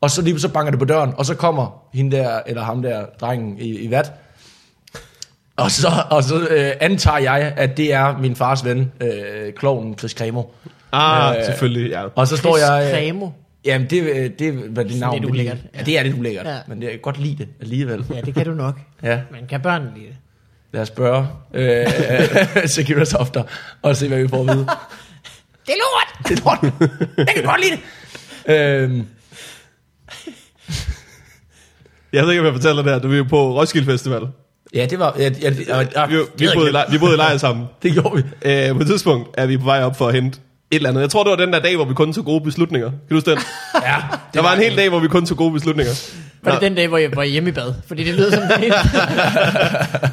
[SPEAKER 3] Og så lige så banker det på døren, og så kommer hende der, eller ham der, drengen i, i vat. Og så, og så øh, antager jeg, at det er min fars ven, øh, kloven Chris Kremo.
[SPEAKER 1] Ah,
[SPEAKER 3] Øh,
[SPEAKER 1] øh, selvfølgelig, ja.
[SPEAKER 3] Og så står
[SPEAKER 2] Chris
[SPEAKER 3] jeg... øh,
[SPEAKER 2] Kremo.
[SPEAKER 3] Jamen, det, øh, det var det navn.
[SPEAKER 2] lidt
[SPEAKER 3] det
[SPEAKER 2] ulækkert,
[SPEAKER 3] lige-
[SPEAKER 2] ja.
[SPEAKER 3] Ja, det er lidt ulækkert,
[SPEAKER 2] Ja.
[SPEAKER 3] ja. men jeg kan godt lide det alligevel.
[SPEAKER 2] Ja, det kan du nok.
[SPEAKER 3] Ja,
[SPEAKER 2] Men kan børnene lide det?
[SPEAKER 3] lad os spørge øh, Secure Softer og se, hvad vi får at vide.
[SPEAKER 2] Det er lort!
[SPEAKER 3] Det er lort. Jeg kan godt lide det. Øhm,
[SPEAKER 1] Jeg ved ikke, om jeg fortæller det her. Du var jo på Roskilde Festival.
[SPEAKER 3] ja, det var... Ja, ja, det, ja, ja,
[SPEAKER 1] Vi, vi,
[SPEAKER 3] jeg
[SPEAKER 1] boede, i
[SPEAKER 3] glemte.
[SPEAKER 1] lej- vi boede i lejr sammen.
[SPEAKER 3] Det gjorde vi.
[SPEAKER 1] Øh, på et tidspunkt er vi på vej op for at hente et eller andet. Jeg tror, det var den der dag, hvor vi kun tog gode beslutninger. Kan du huske den?
[SPEAKER 3] Ja,
[SPEAKER 1] Der var en hel dag, hvor vi kun tog gode beslutninger.
[SPEAKER 2] Var det den dag, hvor jeg var hjemme i bad? Fordi det lyder som det hele.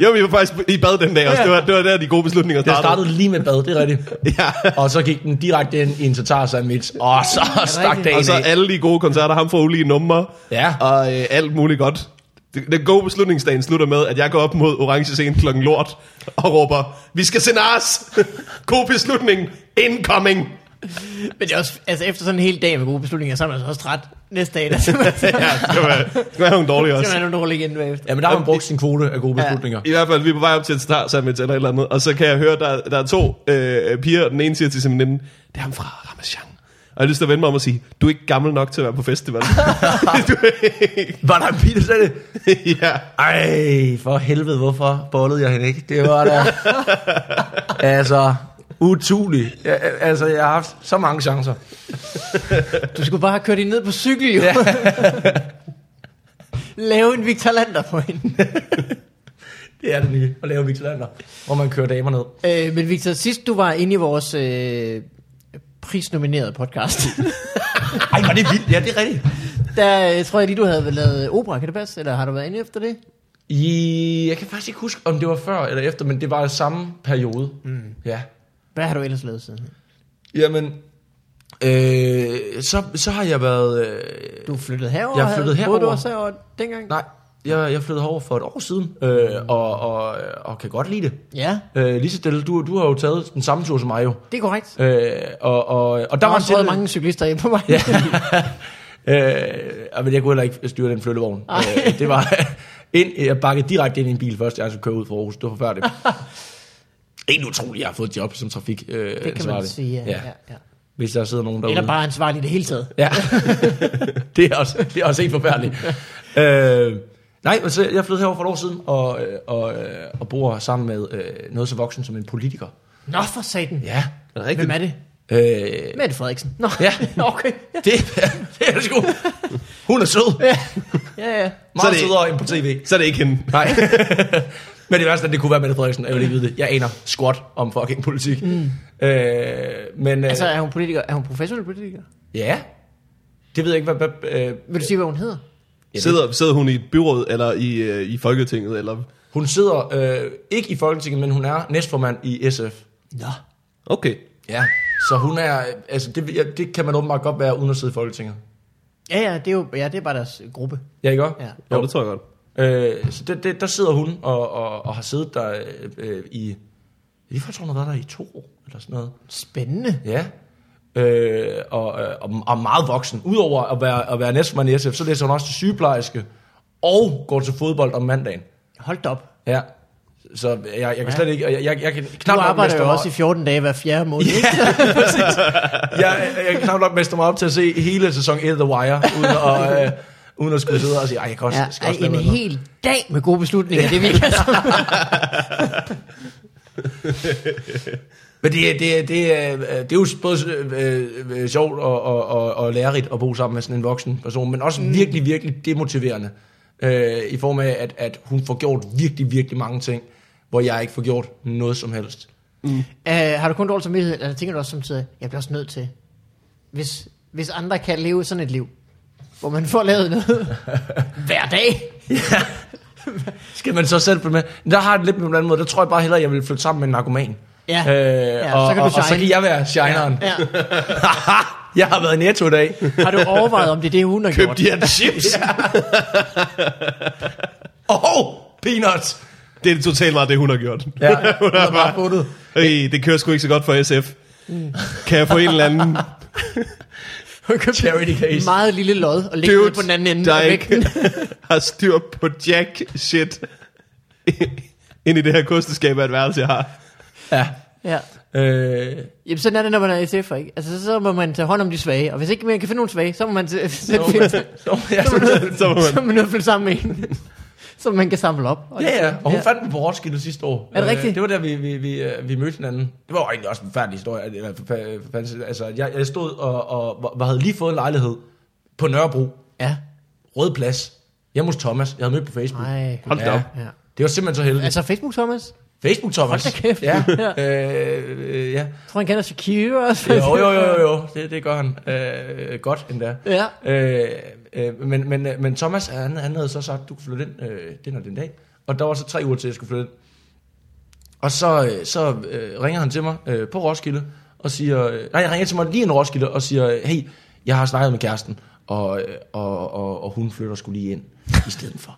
[SPEAKER 1] Jo, vi var faktisk i bad den dag også. Det var, det var der, de gode beslutninger
[SPEAKER 3] Den
[SPEAKER 1] startede.
[SPEAKER 3] startede lige med bad, det er rigtigt.
[SPEAKER 1] Ja.
[SPEAKER 3] Og så gik den direkte ind i en tatar sandwich, og så stak
[SPEAKER 2] rigtigt?
[SPEAKER 3] dagen
[SPEAKER 1] Og så
[SPEAKER 3] af.
[SPEAKER 1] alle de gode koncerter, ham får ulige numre,
[SPEAKER 3] Ja.
[SPEAKER 1] og øh, alt muligt godt. Den- Den gode beslutningsdagen slutter med, at jeg går op mod Orange Scene klokken lort og råber, vi skal sende ars! God beslutning! Incoming!
[SPEAKER 2] Men det er også, altså efter sådan en hel dag med gode beslutninger, så er man altså også træt næste dag. Der skal man, så
[SPEAKER 1] Ja, det skal være, det skal være nogle dårlige
[SPEAKER 2] skal man
[SPEAKER 1] også.
[SPEAKER 2] have nogle dårlige igen bagefter.
[SPEAKER 3] Ja, men der har man brugt sin kvote af gode beslutninger.
[SPEAKER 1] I hvert fald, vi er på vej op til et star summit eller et eller andet, og så kan jeg høre, der, der er to øh, piger, den ene siger til sin veninde, det er ham fra Ramachan. Og jeg har lyst til at vende mig om og sige, du er ikke gammel nok til at være på festival. du er ikke.
[SPEAKER 3] Var der en pige, der sagde det?
[SPEAKER 1] ja.
[SPEAKER 3] Ej, for helvede, hvorfor bollede jeg hende ikke? Det var da... altså, utulig. Jeg, altså, jeg har haft så mange chancer.
[SPEAKER 2] Du skulle bare have kørt hende ned på cykel, jo. Ja. Lave en Victor Lander på hende.
[SPEAKER 3] Det er det nye, at lave Vigelander, hvor man kører damer ned.
[SPEAKER 2] Øh, men Victor, sidst du var inde i vores øh, prisnominerede podcast,
[SPEAKER 3] Ej, var det vildt. Ja, det er rigtigt.
[SPEAKER 2] der øh, tror jeg lige, du havde lavet opera, kan det passe? Eller har du været inde efter det?
[SPEAKER 3] I, jeg kan faktisk ikke huske, om det var før eller efter, men det var samme periode. Mm. Ja.
[SPEAKER 2] Hvad har du ellers lavet siden?
[SPEAKER 3] Jamen, øh, så, så har jeg været... Øh,
[SPEAKER 2] Du flyttede herover?
[SPEAKER 3] Jeg flyttede
[SPEAKER 2] havde- Boede du
[SPEAKER 3] herover.
[SPEAKER 2] også herover dengang?
[SPEAKER 3] nej, jeg, jeg flyttede herover for et år siden, øh, og, og, og kan godt lide det.
[SPEAKER 2] Mm. Ja,
[SPEAKER 3] Øh, lige så stille, du, du har jo taget den samme tur som mig jo.
[SPEAKER 2] det er korrekt.
[SPEAKER 3] Øh, og, og, og der
[SPEAKER 2] Der har
[SPEAKER 3] var en
[SPEAKER 2] også
[SPEAKER 3] del...
[SPEAKER 2] været mange cyklister ind på mig.
[SPEAKER 3] Ja. øh, og men jeg kunne heller ikke styre den flyttevogn.
[SPEAKER 2] Ej.
[SPEAKER 3] Øh, det var... ind, jeg bakkede direkte ind i en bil først, jeg skulle køre ud fra Aarhus. Det var forfærdeligt. Egentlig utroligt, jeg har fået et job som trafik. Øh,
[SPEAKER 2] det kan man sige, ja. ja. ja.
[SPEAKER 3] Hvis der sidder nogen derude.
[SPEAKER 2] Eller bare ansvarlig i det hele taget.
[SPEAKER 3] Ja, det, er også, det er også helt forfærdeligt. øh, nej, men så jeg flyttede herover for et år siden, og, øh, og, øh, og bor sammen med øh, noget så voksen som en politiker.
[SPEAKER 2] Nå for satan.
[SPEAKER 3] Ja.
[SPEAKER 1] Rigtigt.
[SPEAKER 2] Hvem er det?
[SPEAKER 3] Øh,
[SPEAKER 2] Mette Frederiksen. Nå,
[SPEAKER 3] Ja.
[SPEAKER 2] okay.
[SPEAKER 3] det, det er det sgu. Hun er sød.
[SPEAKER 2] Ja, ja.
[SPEAKER 3] Meget
[SPEAKER 1] det-
[SPEAKER 3] sødere end på tv.
[SPEAKER 1] Så er det ikke hende.
[SPEAKER 3] Nej. Men det værste, at det kunne være Mette Frederiksen, jeg vil ikke vide det. Jeg aner squat om fucking politik. Mm. Øh, men
[SPEAKER 2] Altså,
[SPEAKER 3] øh, altså,
[SPEAKER 2] er hun politiker? Er hun professionel politiker?
[SPEAKER 3] ja, det ved jeg ikke, hvad... hvad øh,
[SPEAKER 2] Vil du sige, hvad hun hedder?
[SPEAKER 3] det-
[SPEAKER 1] Sidder, sidder hun i et byråd, eller i, øh, i Folketinget, eller...
[SPEAKER 3] hun sidder øh, ikke i Folketinget, men hun er næstformand i SF.
[SPEAKER 2] Nå.
[SPEAKER 1] Okay.
[SPEAKER 3] Ja, så hun er, altså det, ja, det kan man åbenbart godt være uden at sidde i Folketinget.
[SPEAKER 2] Ja, ja, det er jo ja, det er bare deres gruppe.
[SPEAKER 3] Ja, ikke også?
[SPEAKER 2] Ja.
[SPEAKER 1] Jo, det tror jeg godt.
[SPEAKER 3] Øh, så det, det, der sidder hun og, og, og har siddet der øh, øh, i, lige for, tror, hun har været der i to år, eller sådan noget.
[SPEAKER 2] Spændende.
[SPEAKER 3] Ja, øh, og, øh, og, og meget voksen. Udover at være, at være næstformand i SF, så læser hun også til sygeplejerske og går til fodbold om mandagen.
[SPEAKER 2] Hold da op.
[SPEAKER 3] Ja, så jeg, jeg kan slet ikke, jeg, jeg, jeg kan knap
[SPEAKER 2] Du
[SPEAKER 3] nok
[SPEAKER 2] arbejder
[SPEAKER 3] meste
[SPEAKER 2] jo
[SPEAKER 3] mig-
[SPEAKER 2] også i 14 dage hver fjerde måned. Yeah.
[SPEAKER 3] jeg, jeg kan knap nok mestre mig op til at se hele sæson 1 af The Wire, uden at, øh, uden at skulle sidde og sige, ej, jeg kan også,
[SPEAKER 2] Ja,
[SPEAKER 3] ja, skal
[SPEAKER 2] ej,
[SPEAKER 3] også
[SPEAKER 2] en
[SPEAKER 3] lave noget.
[SPEAKER 2] hel dag med gode beslutninger, det virker som.
[SPEAKER 3] Men det, er- det, er- det, er- det er jo både øh, øh, sjovt og, og, og, og lærerigt at bo sammen med sådan en voksen person, men
[SPEAKER 2] Mm.
[SPEAKER 3] også virkelig, virkelig demotiverende. Øh, I form af, at, at hun får gjort virkelig, virkelig mange ting, hvor jeg ikke får gjort noget som helst.
[SPEAKER 2] Uh, har du kun dårlig samvittighed, eller tænker du også samtidig, jeg bliver også nødt til, hvis, hvis andre kan leve sådan et liv, hvor man får lavet noget hver dag.
[SPEAKER 3] Skal man så selv følge med? Men Der har jeg det lidt på en anden måde. Der tror jeg bare hellere, at jeg vil flytte sammen med en narkoman.
[SPEAKER 2] Ja.
[SPEAKER 3] øh,
[SPEAKER 2] Ja,
[SPEAKER 3] og,
[SPEAKER 2] så kan du
[SPEAKER 3] og, og så
[SPEAKER 2] shine.
[SPEAKER 3] kan jeg være shineren.
[SPEAKER 2] Ja.
[SPEAKER 3] jeg har været i netto i dag.
[SPEAKER 2] Har du overvejet, om det er det, hun har
[SPEAKER 1] Køb
[SPEAKER 2] gjort?
[SPEAKER 1] de her chips!
[SPEAKER 3] Oh, peanuts!
[SPEAKER 1] Det er totalt meget det, hun har gjort.
[SPEAKER 3] Ja, hun har bare fundet.
[SPEAKER 1] Mm. Øh, det kører sgu ikke så godt for SF. Kan jeg få en eller anden...
[SPEAKER 2] Hun købte
[SPEAKER 3] Charity case.
[SPEAKER 2] en meget lille lod og lægge det på den anden ende
[SPEAKER 1] der
[SPEAKER 2] af vægten.
[SPEAKER 1] ikke har styr på jack shit ind i det her kosteskab af et værelse, jeg har.
[SPEAKER 3] Ja.
[SPEAKER 2] Ja.
[SPEAKER 3] Øh,
[SPEAKER 2] Jamen sådan er det, når man er SF'er, ikke? Altså så, så må man tage hånd om de svage, og hvis ikke man kan finde nogen svage, så må man sætte
[SPEAKER 3] så,
[SPEAKER 2] så, så,
[SPEAKER 3] så, ja,
[SPEAKER 2] så,
[SPEAKER 3] så,
[SPEAKER 2] så,
[SPEAKER 1] Så må
[SPEAKER 2] så
[SPEAKER 1] man,
[SPEAKER 2] må man nødt sammen med en, som man kan samle op. Og
[SPEAKER 3] ja, ja, og hun ja. fandt den på Roskilde sidste år.
[SPEAKER 2] Er det
[SPEAKER 3] Øh,
[SPEAKER 2] rigtigt?
[SPEAKER 3] Det var der, vi, vi, vi, øh, vi mødte hinanden. Det var jo egentlig også en færdig historie. at- Eller, forfa- forfa- altså, jeg, jeg stod og, og, og havde lige fået en lejlighed på Nørrebro,
[SPEAKER 2] ja.
[SPEAKER 3] Rød Plads, hjemme hos Thomas. Jeg havde mødt på Facebook.
[SPEAKER 2] Nej.
[SPEAKER 1] hold da op.
[SPEAKER 2] Ja.
[SPEAKER 3] Det var simpelthen så heldigt.
[SPEAKER 2] Altså Facebook, Thomas?
[SPEAKER 3] Facebook, Thomas.
[SPEAKER 2] Hold da kæft.
[SPEAKER 3] Ja. øh, øh, ja.
[SPEAKER 2] Jeg tror, han kender Shakira også.
[SPEAKER 3] Jo, jo, jo, jo, jo. Det, det gør han. Øh, godt endda.
[SPEAKER 2] Ja.
[SPEAKER 3] Øh, øh, men, men, men Thomas, han, han havde så sagt, du kan flytte ind øh, den og den dag. Og der var så tre uger til, jeg skulle flytte ind. Og så, øh, så øh, ringer han til mig øh, på Roskilde, og siger, øh, nej, han ringer til mig lige en Roskilde, og siger, øh, hey, jeg har snakket med kæresten, og, øh, og, og, og hun flytter skulle lige ind i stedet for.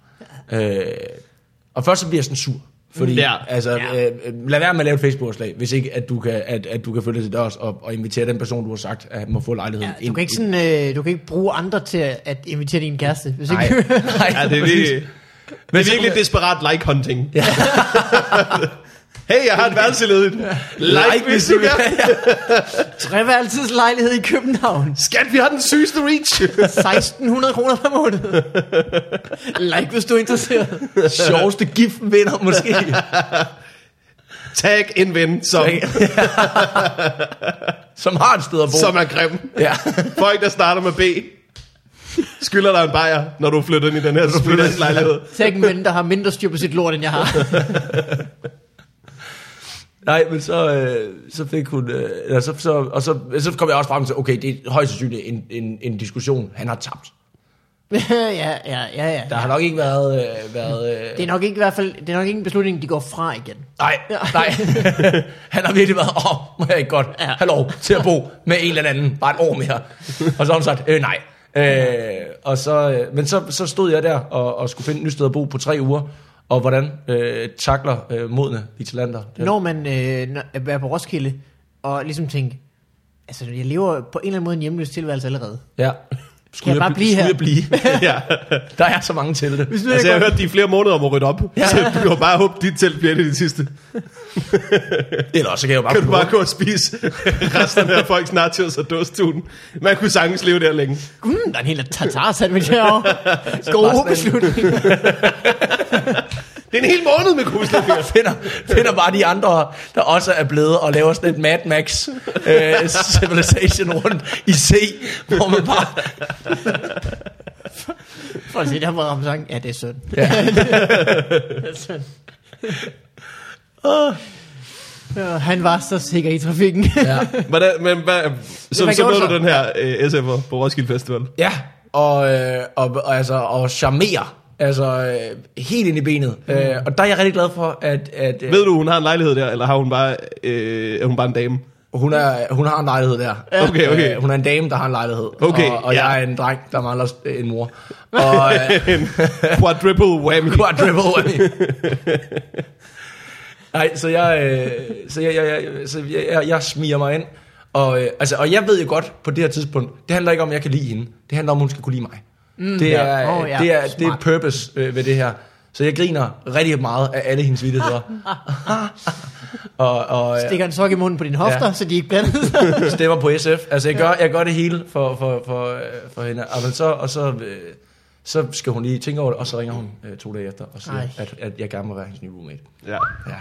[SPEAKER 3] øh, og først så bliver jeg sådan sur, fordi,
[SPEAKER 1] Ja.
[SPEAKER 3] ja. altså,
[SPEAKER 2] Ja.
[SPEAKER 3] øh, øh, lad være med at lave et Facebook-opslag, hvis ikke, at du kan, at, at du kan følge til dørs og, og invitere den person, du har sagt, at han må få lejligheden
[SPEAKER 2] Ja, du kan ikke sådan, øh, du kan ikke bruge andre til at at invitere din kæreste, hvis
[SPEAKER 3] Nej,
[SPEAKER 2] ikke.
[SPEAKER 3] nej,
[SPEAKER 1] Ja, det er,
[SPEAKER 3] præcis.
[SPEAKER 1] virkelig, det er virkelig desperat like hunting.
[SPEAKER 3] Ja.
[SPEAKER 1] hey, jeg har et værelse ledigt. Like, hvis du kan.
[SPEAKER 2] Treværelseslejlighed i København.
[SPEAKER 1] Skat, vi har den sygeste reach.
[SPEAKER 2] 1600 kroner per måned. like, hvis du er interesseret.
[SPEAKER 3] Sjoveste gift vinder måske.
[SPEAKER 1] Tag en ven, som,
[SPEAKER 3] Som har et sted at bo.
[SPEAKER 1] som er grim.
[SPEAKER 3] Ja.
[SPEAKER 1] Folk, der starter med B, skylder dig en bajer, når du flytter ind i den her splitterslejlighed.
[SPEAKER 2] Tag en ven, der har mindre styr på sit lort, end jeg har.
[SPEAKER 3] Nej, men så, øh, så fik hun... Øh, eller så, så, og så, så kom jeg også frem til, okay, det er højst sandsynligt en, en, en diskussion, han har tabt.
[SPEAKER 2] ja, ja, ja, ja.
[SPEAKER 3] Der har nok ikke været... Øh, været øh,
[SPEAKER 2] Det er nok ikke i hvert fald, det er nok ikke en beslutning, de går fra igen.
[SPEAKER 3] Nej, nej. han har virkelig været, åh, må jeg ikke godt have lov til at bo med en eller anden, bare et år mere. Og så har hun sagt, øh, nej. Øh, og så, øh, men så, så stod jeg der og, og skulle finde et nyt sted at bo på tre uger, og hvordan øh, takler øh, modne vitalanter. Det,
[SPEAKER 2] Når man øh, når- er på Roskilde, og ligesom tænker, altså jeg lever på en eller anden måde en hjemløs tilværelse allerede.
[SPEAKER 3] Ja. Skulle
[SPEAKER 2] jeg bare
[SPEAKER 3] bl-
[SPEAKER 2] blive
[SPEAKER 3] skulle
[SPEAKER 2] her?
[SPEAKER 3] Jeg blive?
[SPEAKER 1] Ja.
[SPEAKER 3] Der er så mange telte.
[SPEAKER 2] Hvis nu
[SPEAKER 1] Altså, jeg
[SPEAKER 2] jeg
[SPEAKER 1] har
[SPEAKER 2] går,
[SPEAKER 1] hørt, de er flere måneder om at rydde op. Ja. Så du kan bare håbe, dit telt bliver det de sidste.
[SPEAKER 3] Eller også, så kan jeg jo bare...
[SPEAKER 1] Kan du bare gå og spise resten af folks nachos og dåstun. Man kunne sagtens leve der længe.
[SPEAKER 2] mm, der er en hel tatar sandwich herovre. Gode
[SPEAKER 3] bare sådan
[SPEAKER 2] beslutning.
[SPEAKER 1] Det er en hel måned med kuslefyr.
[SPEAKER 3] finder, finder bare de andre, der også er blevet og laver sådan et Mad Max øh, Civilization rundt i C, hvor man bare...
[SPEAKER 2] For at se, der var Ramsang. Ja, det er synd.
[SPEAKER 3] Ja.
[SPEAKER 2] det er synd.
[SPEAKER 3] Ah.
[SPEAKER 2] Ja, han var så sikker i trafikken.
[SPEAKER 3] Ja.
[SPEAKER 1] Hvordan, men hvad, så,
[SPEAKER 2] man
[SPEAKER 1] så
[SPEAKER 2] gjorde
[SPEAKER 1] mødte
[SPEAKER 2] så.
[SPEAKER 1] du den her øh, SF'er på Roskilde Festival.
[SPEAKER 3] Ja, og, øh, og, og, altså, og charmere. Altså, øh, helt ind i benet. Mm. Øh, og der er jeg rigtig glad for, at, at øh,
[SPEAKER 1] Ved du, hun har en lejlighed der, eller har hun bare, øh, er hun bare en dame?
[SPEAKER 3] hun, er, hun har en lejlighed der. Øh,
[SPEAKER 1] Okay, okay.
[SPEAKER 3] hun er en dame, der har en lejlighed.
[SPEAKER 1] Okay,
[SPEAKER 3] og, og
[SPEAKER 1] ja.
[SPEAKER 3] jeg er en dreng, der mangler s- en mor. Og øh,
[SPEAKER 1] en quadruple whammy.
[SPEAKER 3] quadruple whammy. Nej, så jeg, øh, så jeg, jeg, jeg, så jeg, jeg, jeg smiger mig ind. Og, øh, altså, og jeg ved jo godt på det her tidspunkt, det handler ikke om, at jeg kan lide hende. Det handler om, at hun skal kunne lide mig. Mm, det, er,
[SPEAKER 2] ja. Åh,
[SPEAKER 3] yeah.
[SPEAKER 2] ja.
[SPEAKER 3] det, er, det er
[SPEAKER 2] Smart.
[SPEAKER 3] purpose øh, ved det her. Så jeg griner rigtig meget af alle hendes vittigheder. og, og, øh,
[SPEAKER 2] Stikker en sok i munden på dine hofter,
[SPEAKER 3] Ja.
[SPEAKER 2] ja. så de ikke blander sig.
[SPEAKER 3] stemmer på SF. Altså, jeg gør, jeg gør det hele for, for, for, øh, for hende. Og, men så, og så, øh, så skal hun lige tænke over det, og så ringer hun øh, to dage efter og siger,
[SPEAKER 2] Ej.
[SPEAKER 3] at, at jeg gerne må være hendes nye roommate.
[SPEAKER 1] Ja.
[SPEAKER 3] Ja.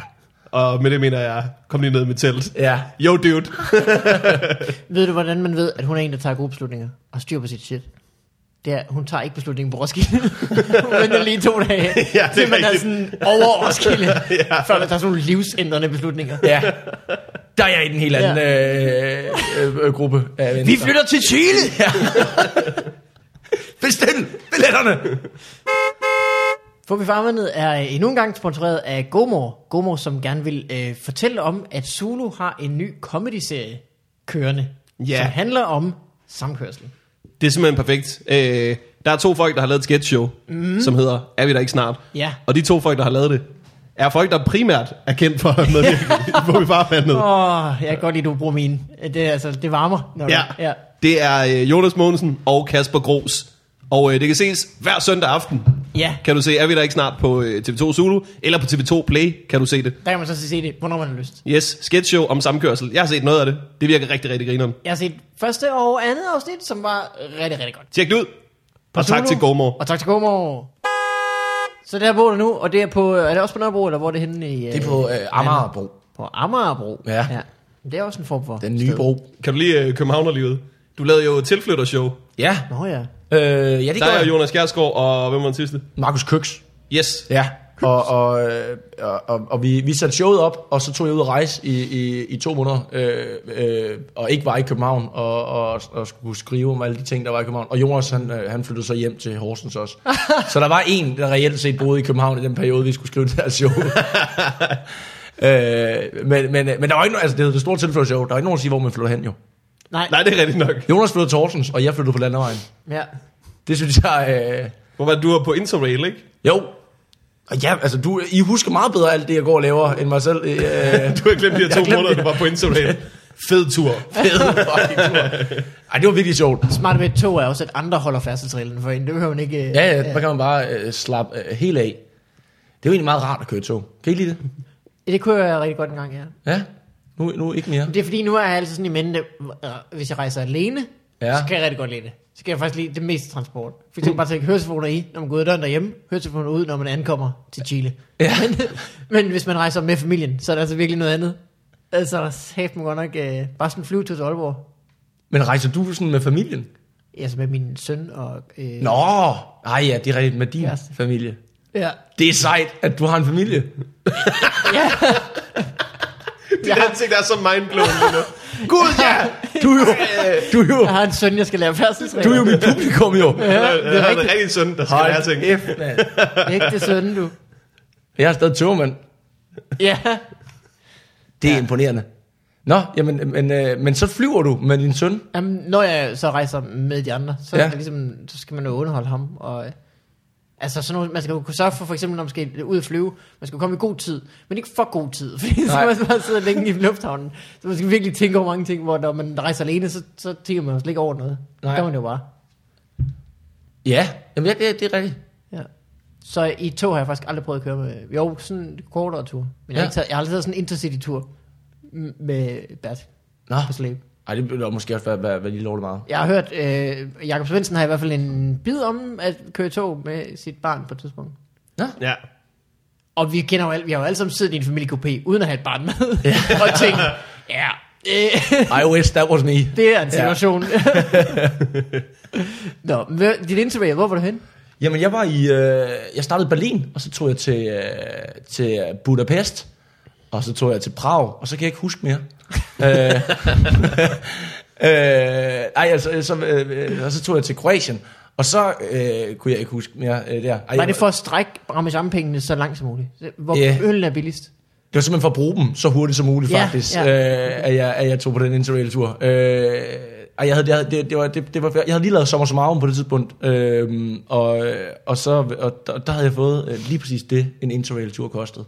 [SPEAKER 1] Og med det mener jeg, kom lige ned i mit telt.
[SPEAKER 3] Ja.
[SPEAKER 1] Yo, dude.
[SPEAKER 2] Ved du, hvordan man ved, at hun er en, der tager gode beslutninger og styr på sit shit? Det er, hun tager ikke beslutningen på Roskilde. hun venter lige to dage,
[SPEAKER 1] Ja, det er
[SPEAKER 2] til man er
[SPEAKER 1] rigtigt.
[SPEAKER 2] sådan over Roskilde,
[SPEAKER 1] Ja.
[SPEAKER 2] ja. før man tager sådan nogle livsændrende beslutninger.
[SPEAKER 3] ja. Der er jeg i den helt anden ja. øh, øh, øh, gruppe af venner.
[SPEAKER 2] Vi flytter til Chile!
[SPEAKER 3] Ja. Bestil billetterne!
[SPEAKER 2] For vi farvandet er øh, endnu en gang sponsoreret af Gomor. Gomor, som gerne vil øh, fortælle om, at Zulu har en ny comedy-serie kørende,
[SPEAKER 1] Ja.
[SPEAKER 2] som handler om samkørsel.
[SPEAKER 1] Det er simpelthen perfekt. Øh, der er to folk, der har lavet et sketch show, mm. som hedder Er vi der ikke snart?
[SPEAKER 2] Ja.
[SPEAKER 1] Og de to folk, der har lavet det, er folk, der primært er kendt for at medvirke i Hvor vi farvandet.
[SPEAKER 2] Åh, oh, jeg kan godt lide, at du bruger mine. Det, er altså, det varmer. Når
[SPEAKER 1] Ja.
[SPEAKER 2] Du, ja.
[SPEAKER 1] Det er øh, Jonas Mogensen og Kasper Gros. Og øh, det kan ses hver søndag aften.
[SPEAKER 2] Ja,
[SPEAKER 1] Kan du se, er vi der ikke snart på øh, TV2 Zulu, eller på TV2 Play, kan du se det.
[SPEAKER 2] der kan man så se det, hvornår man har lyst.
[SPEAKER 1] Yes, sketchshow om samkørsel. Jeg har set noget af det. Det virker rigtig, rigtig grineren.
[SPEAKER 2] Jeg har set første og andet afsnit, som var rigtig, rigtig godt.
[SPEAKER 1] Tjek det ud. Og tak
[SPEAKER 2] Zulu.
[SPEAKER 1] til Gomor.
[SPEAKER 2] Og tak til Gomor. Så det her bor du nu, og det er på, er det også på Nørrebro, eller hvor er det henne i...
[SPEAKER 3] Det er på øh, Amagerbro.
[SPEAKER 2] På Amagerbro.
[SPEAKER 3] Ja.
[SPEAKER 2] Det er også en form for...
[SPEAKER 3] Den nye
[SPEAKER 2] sted.
[SPEAKER 3] bro.
[SPEAKER 1] Kan du lige øh, københavnerlivet? Du lavede jo et tilflyttershow.
[SPEAKER 3] Ja.
[SPEAKER 2] Nå ja.
[SPEAKER 3] Øh, ja, det
[SPEAKER 1] Der
[SPEAKER 3] gør
[SPEAKER 1] er
[SPEAKER 3] jeg.
[SPEAKER 1] Jonas Kjærsgaard og hvem var den sidste?
[SPEAKER 3] Markus Køks.
[SPEAKER 1] Yes.
[SPEAKER 3] Ja, og, og, øh, og, og, og vi, vi satte showet op, og så tog jeg ud at rejse i, i, i to måneder, øh, øh, og ikke var i København, og, og, og skulle skrive om alle de ting, der var i København. Og Jonas, han, øh, han flyttede så hjem til Horsens også. Så der var en, der reelt set boede i København i den periode, vi skulle skrive det her show. øh, men, men, men der var ikke no- altså, det, hed det store tilflyttershow, der var ikke nogen at sige, hvor man flytter hen jo.
[SPEAKER 2] Nej.
[SPEAKER 1] Nej, det er rigtigt nok.
[SPEAKER 3] Jonas flyttede til Horsens, og jeg flyttede på landevejen.
[SPEAKER 2] Ja.
[SPEAKER 3] Det synes jeg... Øh,
[SPEAKER 1] Hvor var det, du var på Interrail, ikke?
[SPEAKER 3] jo, og ja, altså du, I husker meget bedre alt det, jeg går og laver, end mig selv. Øh,
[SPEAKER 1] Du har glemt de her to
[SPEAKER 3] glemte
[SPEAKER 1] måneder,
[SPEAKER 3] det.
[SPEAKER 1] du var på Interrail. Fed tur.
[SPEAKER 3] fede fucking tur. Ej, det var virkelig sjovt.
[SPEAKER 2] Smart ved et tog er også, at andre holder færdselsreglen for en. Det behøver man ikke... øh,
[SPEAKER 3] Ja, ja, der kan man bare øh, slappe øh, helt af. Det er jo egentlig meget rart at køre i tog. Kan I lide det?
[SPEAKER 2] Det kunne jeg rigtig godt en gang, ja.
[SPEAKER 3] Ja, nu, nu ikke mere.
[SPEAKER 2] Men Det er fordi, nu er jeg altid sådan i mente, øh, hvis jeg rejser alene,
[SPEAKER 3] Ja.
[SPEAKER 2] ja. så kan jeg rigtig godt lide det. Så kan jeg faktisk lide det meste transport. For eksempel bare tage høretelefoner i, når man går ud af døren derhjemme, høretelefoner ud, når man ankommer til Chile.
[SPEAKER 3] Ja.
[SPEAKER 2] Men, men hvis man rejser med familien, så er det altså virkelig noget andet. Altså, sæt man godt nok øh, bare sådan en flyvetur til Aalborg.
[SPEAKER 3] Men rejser du sådan med familien?
[SPEAKER 2] Altså med min søn og... Øh,
[SPEAKER 3] Nå, ej ja, det er rigtigt med din
[SPEAKER 2] Ja.
[SPEAKER 3] familie.
[SPEAKER 2] Ja.
[SPEAKER 3] Det er sejt, at du har en familie.
[SPEAKER 2] ja.
[SPEAKER 1] Dit ansigt er så mindblown lige nu.
[SPEAKER 3] Gud ja, du er jo, du er jo,
[SPEAKER 2] Jeg har en søn, jeg skal lære færdselsregler.
[SPEAKER 3] du er jo mit publikum jo.
[SPEAKER 2] Ja,
[SPEAKER 1] Det
[SPEAKER 2] det er
[SPEAKER 1] er en
[SPEAKER 2] rigtigt.
[SPEAKER 1] rigtig søn, der skal lære ting.
[SPEAKER 3] kæft, mand.
[SPEAKER 2] Ægte søn, du.
[SPEAKER 3] Jeg er stadig tøvermand.
[SPEAKER 2] Ja.
[SPEAKER 3] Det er ja. imponerende. Nå, jamen, men, øh, men så flyver du med din søn.
[SPEAKER 2] Jamen, når jeg så rejser med de andre, så,
[SPEAKER 3] Ja.
[SPEAKER 2] ja. ligesom, så skal man jo underholde ham. Og, øh, altså, sådan noget, man skal jo kunne sørge for, for eksempel, når man skal ud og flyve, man skal komme i god tid, men ikke for god tid, fordi så
[SPEAKER 3] Nej.
[SPEAKER 2] man bare sidder længe i lufthavnen. Så man skal virkelig tænke over mange ting, hvor når man rejser alene, så, så tænker man jo slet ikke over noget.
[SPEAKER 3] Nej.
[SPEAKER 2] Nej. Det gør man jo bare.
[SPEAKER 3] Ja, jamen, ja, det, det er rigtigt.
[SPEAKER 2] Ja. Så i tog har jeg faktisk aldrig prøvet at køre med. Jo, sådan en kortere tur. Men ja. jeg,
[SPEAKER 3] Ja.
[SPEAKER 2] har ikke taget, jeg har aldrig taget sådan en intercity-tur m- med Bert
[SPEAKER 3] Nå,
[SPEAKER 2] på slæb.
[SPEAKER 3] Ej, det ville måske også være, være, være lige lovligt meget.
[SPEAKER 2] Jeg har hørt, øh, Jakob Svendsen har i hvert fald en bid om at køre i tog med sit barn på et tidspunkt.
[SPEAKER 1] Ja.
[SPEAKER 2] Og vi kender jo alle, vi har jo alle sammen siddet i en familiekoupé, uden at have et barn med, og tænkt, ja, øh,
[SPEAKER 3] I wish that was me.
[SPEAKER 2] det er en situation. Nå, men dit interview, hvor var du hen?
[SPEAKER 3] Jamen, jeg var i, øh, jeg startede i Berlin, og så tog jeg til, øh, til Budapest, og så tog jeg til Prag, og så kan jeg ikke huske mere. øh, øh, ej, altså, så, øh, øh, og så tog jeg til Kroatien, og så øh, kunne jeg ikke huske mere øh, der. Ej,
[SPEAKER 2] Var det for at strække Parmesan-pengene så langt som muligt? Hvor
[SPEAKER 3] Ja.
[SPEAKER 2] yeah. øl er billigst?
[SPEAKER 3] Det var simpelthen for at bruge dem så hurtigt som muligt,
[SPEAKER 2] Ja,
[SPEAKER 3] faktisk,
[SPEAKER 2] ja.
[SPEAKER 3] Øh, at, jeg, at jeg tog på den interrail-tur. Øh, og jeg havde, jeg, havde, det, det var, det, det var, jeg havde lige lavet Sommer som Arven på det tidspunkt, øh, og, og, så, og der, der havde jeg fået øh, lige præcis det, en interrail-tur kostede,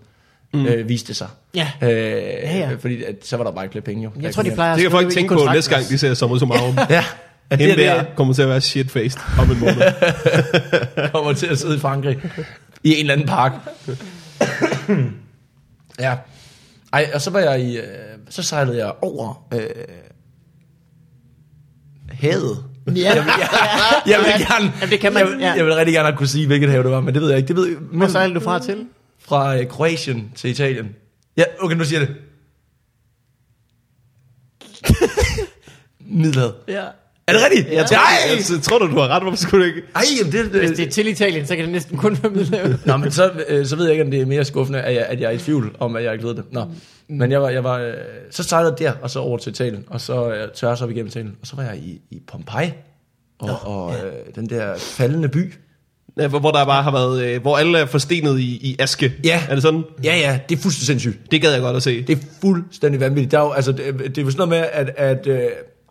[SPEAKER 3] mm. øh, viste det sig.
[SPEAKER 2] Ja.
[SPEAKER 3] Øh,
[SPEAKER 2] Ja, ja.
[SPEAKER 3] Fordi at, så var der bare ikke flere penge, jo. Der
[SPEAKER 2] Jeg tror,
[SPEAKER 3] kunne
[SPEAKER 2] de plejer at
[SPEAKER 1] Det kan
[SPEAKER 2] skrive
[SPEAKER 1] folk
[SPEAKER 2] i
[SPEAKER 1] tænke på
[SPEAKER 2] kontrakten.
[SPEAKER 1] næste gang, de ser sommer som arven.
[SPEAKER 3] Ja, at det,
[SPEAKER 1] Hende
[SPEAKER 3] der
[SPEAKER 1] der kommer til at være shitfaced om en måned.
[SPEAKER 3] kommer til at sidde i Frankrig i en eller anden park. ja. Ej, og så var jeg i, øh, så sejlede jeg over øh, havet.
[SPEAKER 2] Ja,
[SPEAKER 3] Jeg vil gerne,
[SPEAKER 2] Jamen, det kan man,
[SPEAKER 3] jeg,
[SPEAKER 2] ja.
[SPEAKER 3] jeg vil rigtig gerne have kunne sige, hvilket hav det var, men det ved jeg ikke. Det ved,
[SPEAKER 2] hvor
[SPEAKER 3] men
[SPEAKER 2] sejlede du fra til?
[SPEAKER 3] fra øh, Kroatien til Italien. Ja, okay, nu siger jeg det. Middelhavet.
[SPEAKER 2] Ja.
[SPEAKER 3] Er det rigtigt?
[SPEAKER 1] Jeg tror,
[SPEAKER 3] Ej!
[SPEAKER 1] jeg, jeg tror du, du har ret. Hvorfor skulle du ikke?
[SPEAKER 3] Ej, jamen det,
[SPEAKER 2] Hvis det er til Italien, så kan det næsten kun være middelhavet.
[SPEAKER 3] Nå, men så, øh, så ved jeg ikke, om det er mere skuffende, at jeg, at jeg er i tvivl om, at jeg ikke ved det. Nå. Men jeg var, jeg var øh, så sejlede jeg der, og så over til Italien, og så øh, tørres op igennem Italien, og så var jeg i, i Pompeji, og, og øh, den der faldende by.
[SPEAKER 1] Ja, hvor- hvor der bare har været, øh, hvor alle er forstenet i, i aske.
[SPEAKER 3] Ja.
[SPEAKER 1] Er det sådan?
[SPEAKER 3] Ja, ja, det er fuldstændig sindssygt.
[SPEAKER 1] Det gad jeg godt at se.
[SPEAKER 3] Det er fuldstændig vanvittigt. Der er jo, altså, det, det er jo sådan noget med, at, at, øh,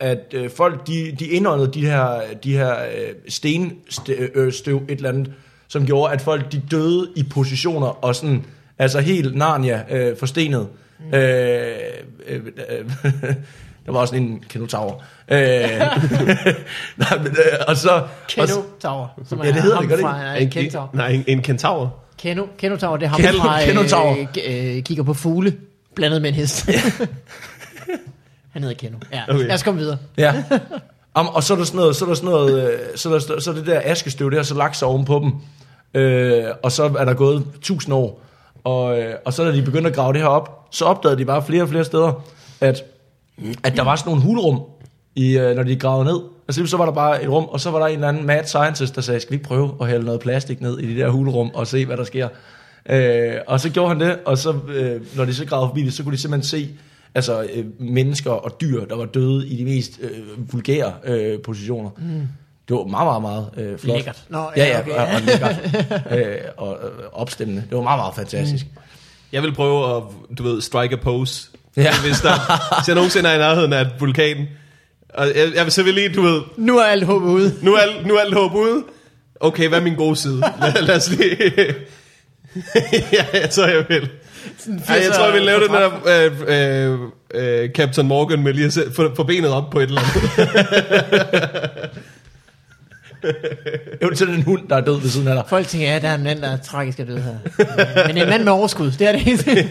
[SPEAKER 3] at øh, folk de, de indåndede de her, de her øh, stenstøv, et eller andet, som gjorde, at folk de døde i positioner og sådan, altså helt Narnia øh, forstenet. Mm. Øh, øh, øh, Der var også sådan en kanotaur. Øh, nej, men, øh, og så... og så-
[SPEAKER 2] Keno Tower. Som
[SPEAKER 3] Ja, det hedder det, gør det
[SPEAKER 2] fra,
[SPEAKER 1] en,
[SPEAKER 2] ikke? Keno,
[SPEAKER 1] en, nej, en, en kentaur.
[SPEAKER 2] Keno, Keno Tower, det er ham
[SPEAKER 3] Keno-
[SPEAKER 2] fra,
[SPEAKER 3] Keno Tower.
[SPEAKER 2] øh, g- øh, kigger på fugle, blandet med en hest. Han hedder Keno. Ja,
[SPEAKER 1] Okay.
[SPEAKER 2] okay. lad os komme videre.
[SPEAKER 3] Ja. Om, og så er der sådan noget, så er der sådan noget, øh, så er, der, så er det der askestøv, det har så lagt sig oven på dem. Øh, og så er der gået tusind år. Og, øh, og så da de begyndte at grave det her op, så opdagede de bare flere og flere steder, at, at der var sådan nogle hulrum, i, øh, når de gravede ned. Altså så var der bare et rum, og så var der en eller anden mad scientist, der sagde, skal vi ikke prøve at hælde noget plastik ned i de der hulrum og se, hvad der sker. Øh, og så gjorde han det, og så, øh, når de så gravede forbi det, så kunne de simpelthen se, altså øh, mennesker og dyr, der var døde i de mest øh, vulgære øh, positioner. Mm. Det var meget, meget, meget øh, flot.
[SPEAKER 2] Lækkert. Nå,
[SPEAKER 3] ja,
[SPEAKER 2] ja,
[SPEAKER 3] ja,
[SPEAKER 2] okay.
[SPEAKER 3] og, og lækkert. øh, og øh, opstemmende. Det var meget, meget fantastisk. Mm.
[SPEAKER 1] Jeg vil prøve at, du ved, strike a pose.
[SPEAKER 3] Ja.
[SPEAKER 1] Ja. Hvis, der, hvis jeg nogensinde er i nærheden af et vulkan. Og jeg, jeg vil så vil lige, du ved,
[SPEAKER 2] Nu er alt håbet ude.
[SPEAKER 1] nu er, alt- nu er alt håb ude. Okay, hvad er min gode side? Lad, lad os lige... ja, jeg tror, jeg vil. Ej, jeg tror, jeg vil lave den der øh, øh, øh, Captain Morgan med lige at se- få, få benet op på et eller andet.
[SPEAKER 3] Eventuelt en hund, der er død ved siden af dig.
[SPEAKER 2] Folk tænker, ja, der er en mand, der er tragisk og død her. Øh, Men en mand med overskud, det er det eneste.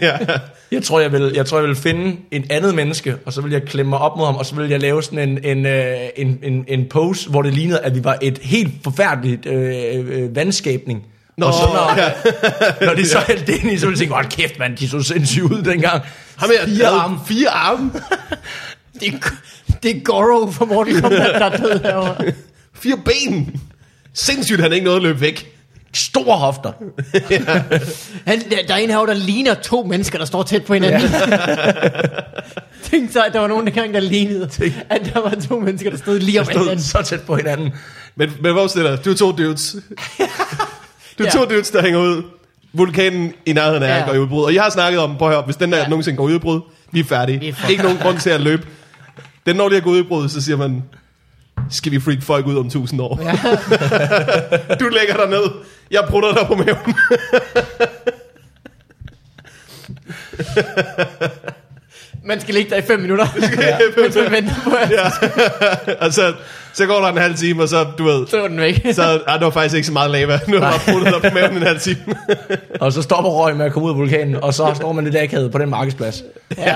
[SPEAKER 3] Jeg tror jeg, vil, jeg tror, jeg vil finde en andet menneske, og så vil jeg klemme mig op mod ham, og så vil jeg lave sådan en, en, øh, en, en, en pose, hvor det lignede, at vi var et helt forfærdeligt øh, øh, vandskabning. Nå, og så når, ja. når de så hældte det ind i, så ville jeg tænke, hold kæft mand, de så sindssyge ud dengang.
[SPEAKER 1] Ham her,
[SPEAKER 3] Fire
[SPEAKER 1] der havde
[SPEAKER 3] arme.
[SPEAKER 1] Fire arme.
[SPEAKER 2] Det er, det er Goro fra Mortal Kombat, der er død herovre.
[SPEAKER 1] Fire ben. Sindssygt, han ikke nåede at løbe væk.
[SPEAKER 3] Store hofter.
[SPEAKER 2] Han, der, der er en herovre, der ligner to mennesker, der står tæt på hinanden. Tænk så, at der var nogen dengang, der lignede, at der var to mennesker, der stod lige om
[SPEAKER 3] Stod
[SPEAKER 2] hinanden.
[SPEAKER 3] så tæt på hinanden.
[SPEAKER 1] Men, men hvor stiller Du er to dudes. Du er
[SPEAKER 2] Ja.
[SPEAKER 1] ja. to dudes, der hænger ud. Vulkanen i nærheden af
[SPEAKER 2] Ja.
[SPEAKER 1] ja. går i udbrud. Og jeg har snakket om, prøv at høre, hvis den der
[SPEAKER 2] Ja.
[SPEAKER 1] ja. nogensinde går i udbrud, vi er færdige.
[SPEAKER 2] Vi er
[SPEAKER 1] Vi
[SPEAKER 2] fucked.
[SPEAKER 1] er ikke nogen grund til at løbe. Den når lige at gå i udbrud, så siger man, skal vi freak folk ud om tusind år?
[SPEAKER 2] Ja.
[SPEAKER 1] du lægger dig ned. Jeg prutter dig på maven.
[SPEAKER 2] Man skal ligge der i fem minutter, mens man venter på, at
[SPEAKER 1] og så, Altså, så går der en halv time, og så, du ved,
[SPEAKER 2] så er den væk.
[SPEAKER 1] så ah, der var faktisk ikke så meget lava. Nu har jeg bare pruttet dig på maven en halv time.
[SPEAKER 3] Og så stopper røg med at komme ud af vulkanen, og så står man lidt akavet på den markedsplads.
[SPEAKER 2] Ja.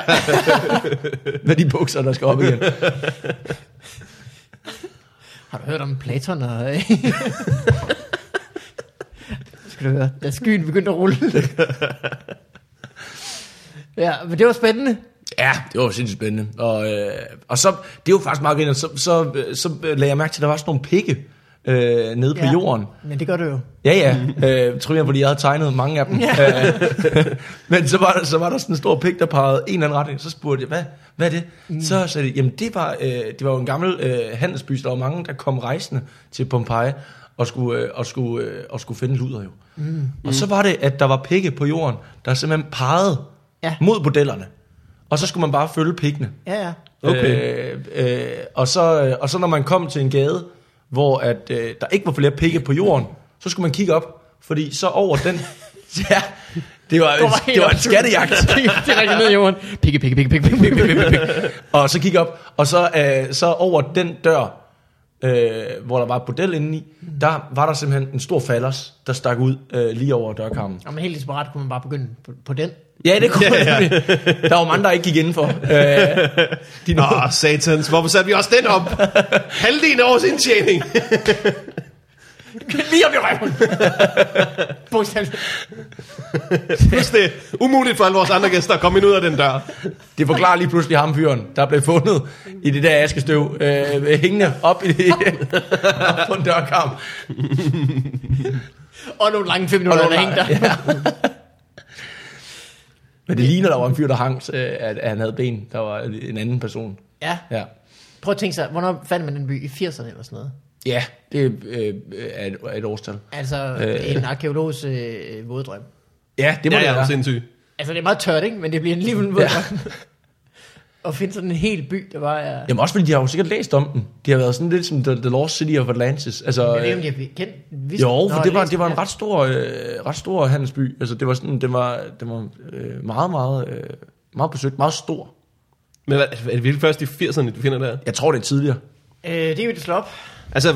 [SPEAKER 3] Med de bukser, der skal op igen.
[SPEAKER 2] Har du hørt om Platon og... skal du høre, da skyen begyndte at rulle. ja, men det var spændende.
[SPEAKER 3] Ja, det var sindssygt spændende. Og, øh, og så, det var faktisk meget grinerende, så, så, øh, så øh, lagde jeg mærke til, at der var sådan nogle pikke øh, nede på
[SPEAKER 2] ja.
[SPEAKER 3] jorden.
[SPEAKER 2] Men det gør du jo.
[SPEAKER 3] Ja, ja. Øh, tror jeg, fordi jeg havde tegnet mange af dem. Ja. Men så var, der, så var der sådan en stor pik, der pegede en eller anden retning. Så spurgte jeg, hvad, hvad er det? Mm. Så sagde de, jamen det var, øh, det var jo en gammel øh, handelsby, så der var mange, der kom rejsende til Pompeji og skulle, øh, og skulle, øh, og skulle finde luder jo. Mm. Og så var det, at der var pikke på jorden, der simpelthen pegede
[SPEAKER 2] Ja.
[SPEAKER 3] ja. mod bordellerne. Og så skulle man bare følge pikkene.
[SPEAKER 2] Ja, ja.
[SPEAKER 1] Okay.
[SPEAKER 3] Øh, øh, og, så, og så når man kom til en gade, hvor at, øh, der ikke var flere pikke på jorden, så skulle man kigge op, fordi så over den... ja, det var,
[SPEAKER 2] var
[SPEAKER 3] det var,
[SPEAKER 2] helt
[SPEAKER 3] det var en
[SPEAKER 2] absurd.
[SPEAKER 3] skattejagt.
[SPEAKER 2] Direkte ned i jorden. Pikke, pikke, pikke, pikke, pikke, pikke, pikke, pikke.
[SPEAKER 3] og så kigge op, og så, øh, så over den dør, øh, hvor der var et bordel indeni, der var der simpelthen en stor fallers, der stak ud øh, lige over dørkarmen.
[SPEAKER 2] Jamen helt desperat kunne man bare begynde på, på den.
[SPEAKER 3] Ja, det kunne ja, ja. Der var mange, der ikke gik indenfor. Øh, de
[SPEAKER 1] Nå,
[SPEAKER 3] nåede,
[SPEAKER 1] satans, hvorfor satte vi også den op? Halvdelen af vores indtjening.
[SPEAKER 2] Lige op i røven. Bogstaveligt.
[SPEAKER 1] Plus det er umuligt for alle vores andre gæster at komme ind ud af den dør.
[SPEAKER 3] Det forklarer lige pludselig ham fyren, der blev fundet i det der askestøv, øh, hængende op i det, op på en dørkarm.
[SPEAKER 2] Og nogle lange fem minutter, der hængte der.
[SPEAKER 3] ja. Men det ligner, der var en fyr, der hang, øh, at, at han havde ben. Der var en anden person.
[SPEAKER 2] Ja.
[SPEAKER 3] Ja,
[SPEAKER 2] Prøv at tænke sig, hvornår fandt man den by? I 80'erne eller sådan noget?
[SPEAKER 3] ja det øh, er, et, er et årstal.
[SPEAKER 2] Altså, det er en arkeologs øh, våddrøm.
[SPEAKER 3] Ja, det må
[SPEAKER 1] Ja,
[SPEAKER 3] det
[SPEAKER 1] ja,
[SPEAKER 3] være.
[SPEAKER 1] sindssyg.
[SPEAKER 2] Altså, det er meget tørt, ikke? Men det bliver alligevel en våddrøm. Og finde sådan en hel by, der bare er...
[SPEAKER 3] Jamen også fordi, de har jo sikkert læst om den. De har været sådan lidt som The, the Lost City of Atlantis. Altså,
[SPEAKER 2] Jeg ved
[SPEAKER 3] øh,
[SPEAKER 2] ikke, om de har kendt... vidst-
[SPEAKER 3] Jo, for
[SPEAKER 2] Nå,
[SPEAKER 3] det var,
[SPEAKER 2] læst-
[SPEAKER 3] det var en ret stor, øh, ret stor handelsby. Altså, det var sådan, den var, den var øh, meget, meget, øh, meget besøgt, meget stor.
[SPEAKER 1] Men er, er det virkelig først i 80'erne, du finder det her?
[SPEAKER 3] Jeg tror, det er tidligere.
[SPEAKER 2] Øh, det er jo det slå op.
[SPEAKER 1] Altså,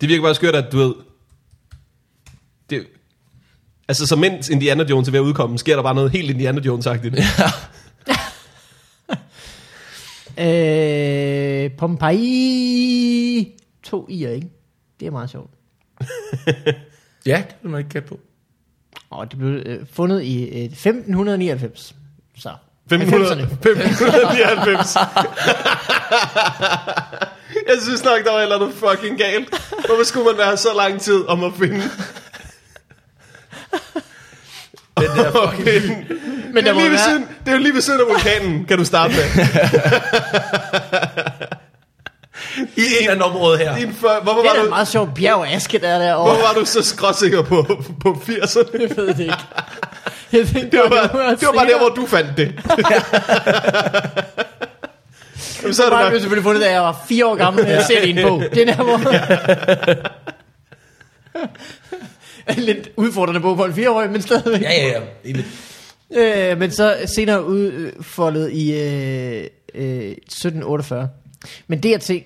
[SPEAKER 1] det virker bare skørt, at du ved... Det, altså, så mens Indiana Jones er ved at udkomme, sker der bare noget helt Indiana Jones-agtigt.
[SPEAKER 2] Øh, Pompeii. To i'er, ikke? Det er meget sjovt.
[SPEAKER 3] Ja, det vil man ikke gætte på.
[SPEAKER 2] Og det blev øh, fundet i øh, 1599. Så.
[SPEAKER 1] 500,
[SPEAKER 2] 90'erne.
[SPEAKER 1] 599. Jeg synes nok, der var et eller andet fucking galt. Hvorfor skulle man være så lang tid om at finde... Den der okay. det,
[SPEAKER 2] Men der
[SPEAKER 1] er
[SPEAKER 2] må
[SPEAKER 1] lige ved
[SPEAKER 2] være-
[SPEAKER 1] siden, det er jo lige ved siden af vulkanen, kan du starte med.
[SPEAKER 3] I en af område her.
[SPEAKER 1] Din før, hvorfor,
[SPEAKER 2] Det
[SPEAKER 1] var
[SPEAKER 2] er da
[SPEAKER 1] du,
[SPEAKER 2] en meget sjov bjerg af aske, der er derovre.
[SPEAKER 1] hvorfor var du så skråsikker på, på 80'erne?
[SPEAKER 2] Jeg ved det ikke. Jeg tænkte,
[SPEAKER 1] Det var, bare,
[SPEAKER 2] noget
[SPEAKER 1] det var bare der,
[SPEAKER 2] senere.
[SPEAKER 1] hvor du fandt det. Jamen, så er det
[SPEAKER 2] Det var
[SPEAKER 1] nok
[SPEAKER 2] jeg selvfølgelig fundet, da jeg var fire år gammel, når jeg ser det i en bog. Det er der, hvor... Lidt udfordrende bog for en fireårig, men stadigvæk.
[SPEAKER 3] Ja, ja, ja. Det er lidt-
[SPEAKER 2] Øh, men så senere udfoldet i øh, øh, 1748. Men det at se,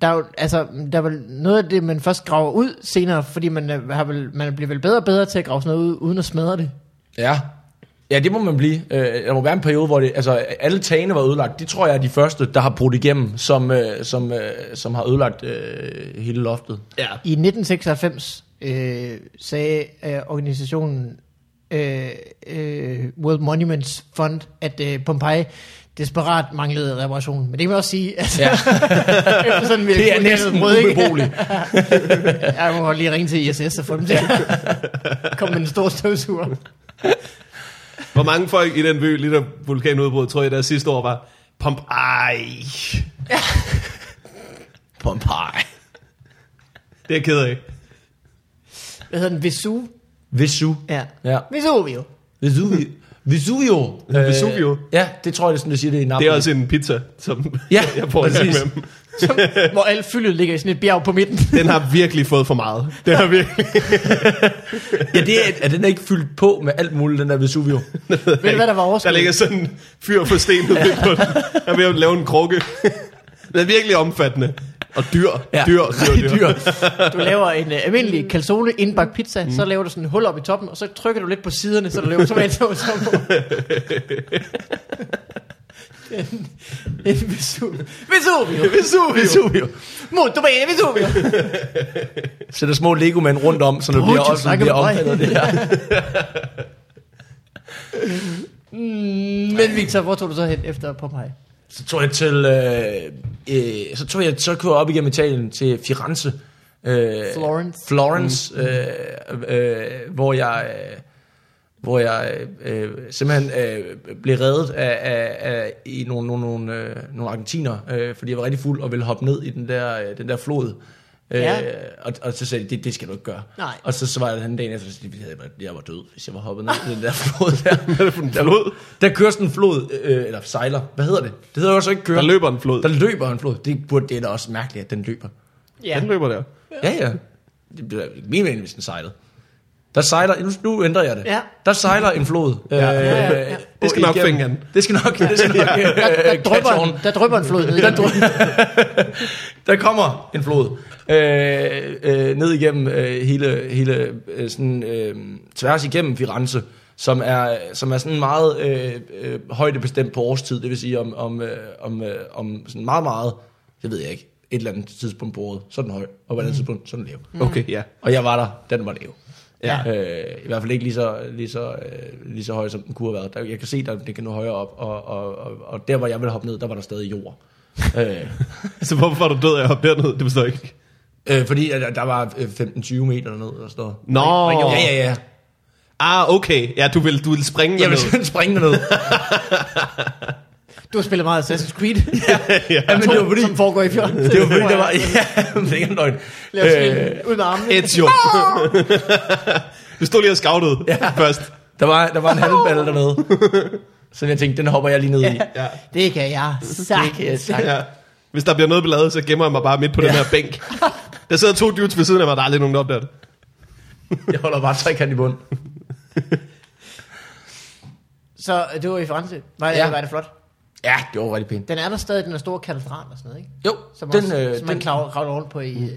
[SPEAKER 2] der er jo, altså, der er vel noget af det, man først graver ud senere, fordi man, er- har vel, man bliver vel bedre og bedre til at grave sådan noget ud, uden at smadre det.
[SPEAKER 3] Ja. Ja, det må man blive. Øh, Der må være en periode, hvor det, altså, alle tagene var ødelagt. De tror jeg er de første, der har brudt igennem, som, øh, som, øh, som har ødelagt øh, hele loftet.
[SPEAKER 1] Ja.
[SPEAKER 2] I 1996 øh, sagde øh, organisationen øh, øh, World Monuments Fund, at øh, Pompeji desperat manglede reparation. Men det kan man også sige, at
[SPEAKER 3] Ja.
[SPEAKER 2] efter sådan, vi
[SPEAKER 3] Det er næsten ubeboeligt.
[SPEAKER 2] Jeg må lige ringe til ISS og få dem til at komme med en stor støvsuger.
[SPEAKER 1] Hvor mange folk i den by, lige der vulkanudbrud, tror jeg, der sidste år var, pump, ej,
[SPEAKER 3] Pompeji.
[SPEAKER 1] det er jeg ked af.
[SPEAKER 2] Hvad hedder den? Vesu?
[SPEAKER 3] Vesu.
[SPEAKER 2] Ja.
[SPEAKER 3] Ja.
[SPEAKER 2] Vesuvio.
[SPEAKER 3] Vesuvio. Vesuvio.
[SPEAKER 1] Ja, Vesuvio.
[SPEAKER 3] Øh, ja, det tror jeg, det er sådan, det siger det i Napoli.
[SPEAKER 1] Det er også en pizza, som
[SPEAKER 3] Ja,
[SPEAKER 1] jeg får en gang
[SPEAKER 3] præcis.
[SPEAKER 1] med dem.
[SPEAKER 2] Som, hvor alt fyldet ligger i sådan et bjerg på midten.
[SPEAKER 1] Den har virkelig fået for meget. Den har virkelig...
[SPEAKER 3] Ja, det er, er den ikke fyldt på med alt muligt, den der Vesuvio.
[SPEAKER 2] Ved du, hvad der var
[SPEAKER 1] Der
[SPEAKER 2] overskud?
[SPEAKER 1] ligger sådan en fyr for stenet ja. på den. Jeg er ved at lave en krukke. Den er virkelig omfattende. Og dyr, ja. dyr, dyr, dyr. dyr.
[SPEAKER 2] Du laver en uh, almindelig calzone indbagt pizza, mm. så laver du sådan en hul op i toppen, og så trykker du lidt på siderne, så du laver tomatsovs op på. en, en Vesuvio. Vesuvio!
[SPEAKER 1] Vesuvio.
[SPEAKER 3] Vesuvio.
[SPEAKER 2] Molto bene, Vesuvio!
[SPEAKER 3] Så der er små legomænd rundt om, så det
[SPEAKER 2] Brutto,
[SPEAKER 3] bliver også det
[SPEAKER 2] snakker
[SPEAKER 3] bliver
[SPEAKER 2] du mig?
[SPEAKER 3] omfattet af det her.
[SPEAKER 2] Mm, Men Victor, hvor tog du så hen efter Pompeji?
[SPEAKER 3] Så tog jeg til, øh, øh, så tog jeg, så kørte jeg op igennem Italien til Firenze. Øh,
[SPEAKER 2] Florence.
[SPEAKER 3] Florence, mm. øh, øh, hvor jeg, øh, hvor jeg øh, simpelthen øh, blev reddet af, af, af i nogle, nogle, nogle, øh, nogle argentiner, øh, fordi jeg var rigtig fuld og ville hoppe ned i den der, øh, den der flod. Øh,
[SPEAKER 2] Ja.
[SPEAKER 3] og, og så sagde de, det, det skal du ikke gøre.
[SPEAKER 2] Nej.
[SPEAKER 3] Og så, så var jeg den dagen efter, så jeg, var, jeg var død, hvis jeg var hoppet ned i den der flod der.
[SPEAKER 1] Hvad er det for en flod?
[SPEAKER 3] Der kører sådan en flod, øh, eller sejler. Hvad hedder det? Det hedder jo så ikke køre.
[SPEAKER 1] Der løber en flod.
[SPEAKER 3] Der løber en flod. Det, burde, det er da også mærkeligt, at den løber.
[SPEAKER 2] Ja.
[SPEAKER 1] Den løber der.
[SPEAKER 3] Ja, ja. Det bliver ikke min mening, hvis den sejlede. Der sejler, nu, nu ændrer jeg det.
[SPEAKER 2] Ja.
[SPEAKER 3] Der sejler en flod. Øh,
[SPEAKER 2] ja, ja.
[SPEAKER 1] Det skal nok
[SPEAKER 3] igennem-
[SPEAKER 1] finde han.
[SPEAKER 3] Det skal nok, det skal nok. øh, ja.
[SPEAKER 2] Der, der, drøber, en, der drøber en flod ned. Der drøber,
[SPEAKER 3] Der kommer en flod øh, øh, ned igennem øh, hele, hele øh, sådan, øh, tværs igennem Firenze, som er, som er sådan meget øh, øh, højdebestemt på årstid, det vil sige om, om, øh, om, øh, om sådan meget, meget, det ved jeg ikke, et eller andet tidspunkt på året, så er den høj, og
[SPEAKER 2] Mm.
[SPEAKER 3] på et andet tidspunkt, så er den lav.
[SPEAKER 1] Okay, ja.
[SPEAKER 3] Og jeg var der, den var lav.
[SPEAKER 1] Ja.
[SPEAKER 3] Øh, I hvert fald ikke lige så, lige, så, øh, lige så høj, som den kunne have været. Der, jeg kan se, at den kan nå højere op, og, og, og, og der, hvor jeg ville hoppe ned, der var der stadig jord. øh,
[SPEAKER 1] Så Altså, hvorfor var du død af at hoppe derned? Det forstår jeg ikke.
[SPEAKER 3] Øh, fordi at der, der var øh, 15-20 meter ned og sådan noget.
[SPEAKER 1] Nå.
[SPEAKER 3] Ja, ja, ja.
[SPEAKER 1] Ah, okay. Ja, du vil, du vil springe
[SPEAKER 3] Jeg vil
[SPEAKER 1] derned.
[SPEAKER 3] simpelthen springe derned.
[SPEAKER 2] du har spillet meget Assassin's Creed,
[SPEAKER 3] ja, men det var fordi,
[SPEAKER 2] som foregår i fjorden.
[SPEAKER 3] det var fordi, der var... Ja, men det er ikke en løgn. Øh,
[SPEAKER 2] Øh, ud med armene.
[SPEAKER 1] Ezio. du stod lige og scoutede ja. først.
[SPEAKER 3] der, var, der var en halvballe dernede. Så jeg tænkte, den hopper jeg lige ned i.
[SPEAKER 1] Ja.
[SPEAKER 2] Det kan jeg
[SPEAKER 3] Det kan jeg
[SPEAKER 2] sagtens.
[SPEAKER 3] sagtens.
[SPEAKER 1] Ja. Hvis der bliver noget ballade, så gemmer jeg mig bare midt på ja. den her bænk. Der sidder to dudes ved siden af mig, der er aldrig nogen, der opdager det.
[SPEAKER 3] Jeg holder bare trekant i bund.
[SPEAKER 2] Så øh, det var i Firenze. Var,
[SPEAKER 3] Ja.
[SPEAKER 2] ja. var det flot?
[SPEAKER 3] Ja, det var rigtig pænt.
[SPEAKER 2] Den er der stadig, den er store katedral og sådan noget, ikke?
[SPEAKER 3] Jo,
[SPEAKER 2] Som,
[SPEAKER 3] den,
[SPEAKER 2] også,
[SPEAKER 3] øh,
[SPEAKER 2] som man
[SPEAKER 3] den, Mm.
[SPEAKER 2] kravler, kravler rundt på i... Øh,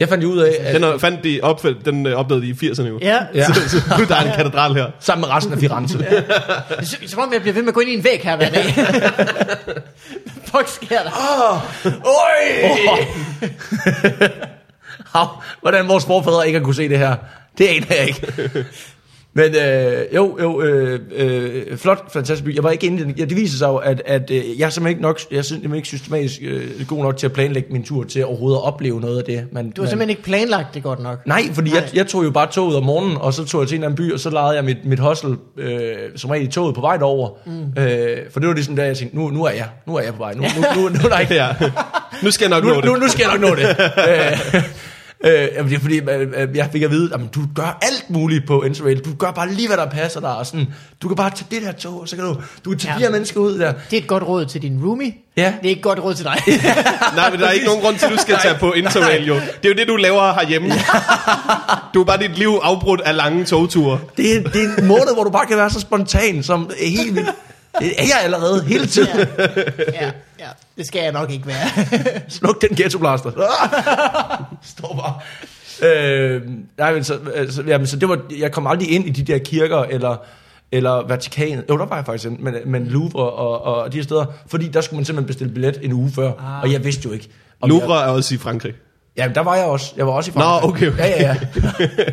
[SPEAKER 3] jeg fandt jo ud af, at,
[SPEAKER 1] Den er, fandt de opfald, den øh, opdagede de i 80'erne jo.
[SPEAKER 2] ja,
[SPEAKER 3] Ja.
[SPEAKER 2] ja.
[SPEAKER 1] Så, så nu der er en katedral her.
[SPEAKER 3] sammen med resten af Firenze.
[SPEAKER 2] Som, som om jeg bliver ved med at gå ind i en væg her hver dag. Hvad fuck sker der?
[SPEAKER 3] Ah, Øj! Hav, hvordan vores forfædre ikke har kunne se det her, det aner jeg ikke. Men øh, jo, jo, øh, øh, flot, fantastisk by. Jeg var ikke inde i den. Ja, det viser sig jo, at, at øh, jeg er simpelthen ikke, nok, jeg er simpelthen ikke systematisk øh, god nok til at planlægge min tur til overhovedet at opleve noget af det. Man,
[SPEAKER 2] Du har
[SPEAKER 3] man,
[SPEAKER 2] simpelthen ikke planlagt det godt nok.
[SPEAKER 3] Nej, fordi
[SPEAKER 2] Nej.
[SPEAKER 3] Jeg, jeg tog jo bare toget om morgenen, og så tog jeg til en eller anden by, og så lejede jeg mit, mit hostel øh, som regel i toget på vej derover. Mm. Øh, for det var ligesom der, jeg tænkte, nu, nu er jeg, nu er jeg på vej. Nu, nu, nu, nu er der ikke,
[SPEAKER 1] Ja. Nu skal jeg nok nå
[SPEAKER 3] nu,
[SPEAKER 1] det.
[SPEAKER 3] nu, nu skal jeg nok nå det. Øh, Øh, jamen, det er fordi, øh, øh, jeg fik at vide, at du gør alt muligt på Interrail. Du gør bare lige, hvad der passer dig. Og sådan, du kan bare tage det der tog, og så kan du, du kan tage
[SPEAKER 2] Ja.
[SPEAKER 3] ja. de her mennesker ud der.
[SPEAKER 2] Det er et godt råd til din roomie.
[SPEAKER 3] Ja.
[SPEAKER 2] Det er ikke et godt råd til dig.
[SPEAKER 1] Nej, men der er ikke nogen grund til, at du skal tage på Interrail, jo. Det er jo det, du laver herhjemme. Du er bare dit liv afbrudt af lange togture.
[SPEAKER 3] Det er, det er en måned, hvor du bare kan være så spontan, som helt vildt. Det er jeg allerede hele tiden.
[SPEAKER 2] ja. ja. ja. Det skal jeg nok ikke være.
[SPEAKER 3] Sluk den ghettoblaster. Ah! Står bare. Øh, nej, men så, altså, jamen, så det var, jeg kom aldrig ind i de der kirker, eller, eller Vatikanet. Jo, der var jeg faktisk ind, men, men Louvre og, og de her steder. Fordi der skulle man simpelthen bestille billet en uge før, ah. og jeg vidste jo ikke. om Jeg,
[SPEAKER 1] Louvre er også i Frankrig.
[SPEAKER 3] jamen, der var jeg også. Jeg var også i
[SPEAKER 1] Nå,
[SPEAKER 3] Frankrig.
[SPEAKER 1] okay, okay.
[SPEAKER 3] Ja, ja,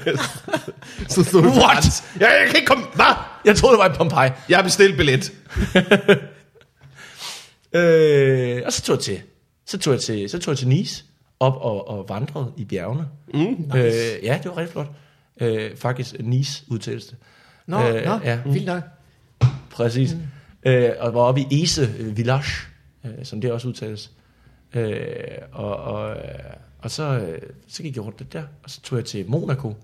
[SPEAKER 3] ja.
[SPEAKER 1] Så stod du What? Ja, jeg kan ikke komme. Hvad?
[SPEAKER 3] Jeg troede, det var i Pompeji.
[SPEAKER 1] Jeg har bestilt billet.
[SPEAKER 3] Øh, og så tog jeg til, så tog jeg til, så tog jeg til Nice op og, og vandrede i bjergene. Mm, nice. øh, ja, det var rigtig flot. Øh, faktisk Nice udtales det.
[SPEAKER 2] Nå,
[SPEAKER 3] Øh,
[SPEAKER 2] nå, Mm.
[SPEAKER 3] ja.
[SPEAKER 2] vildt nok.
[SPEAKER 3] Præcis. Mm. Øh, og var oppe i Ese øh, Village, øh, som det også udtales. Øh, og, og, øh, og så, øh, så gik jeg rundt det der, og så tog jeg til Monaco.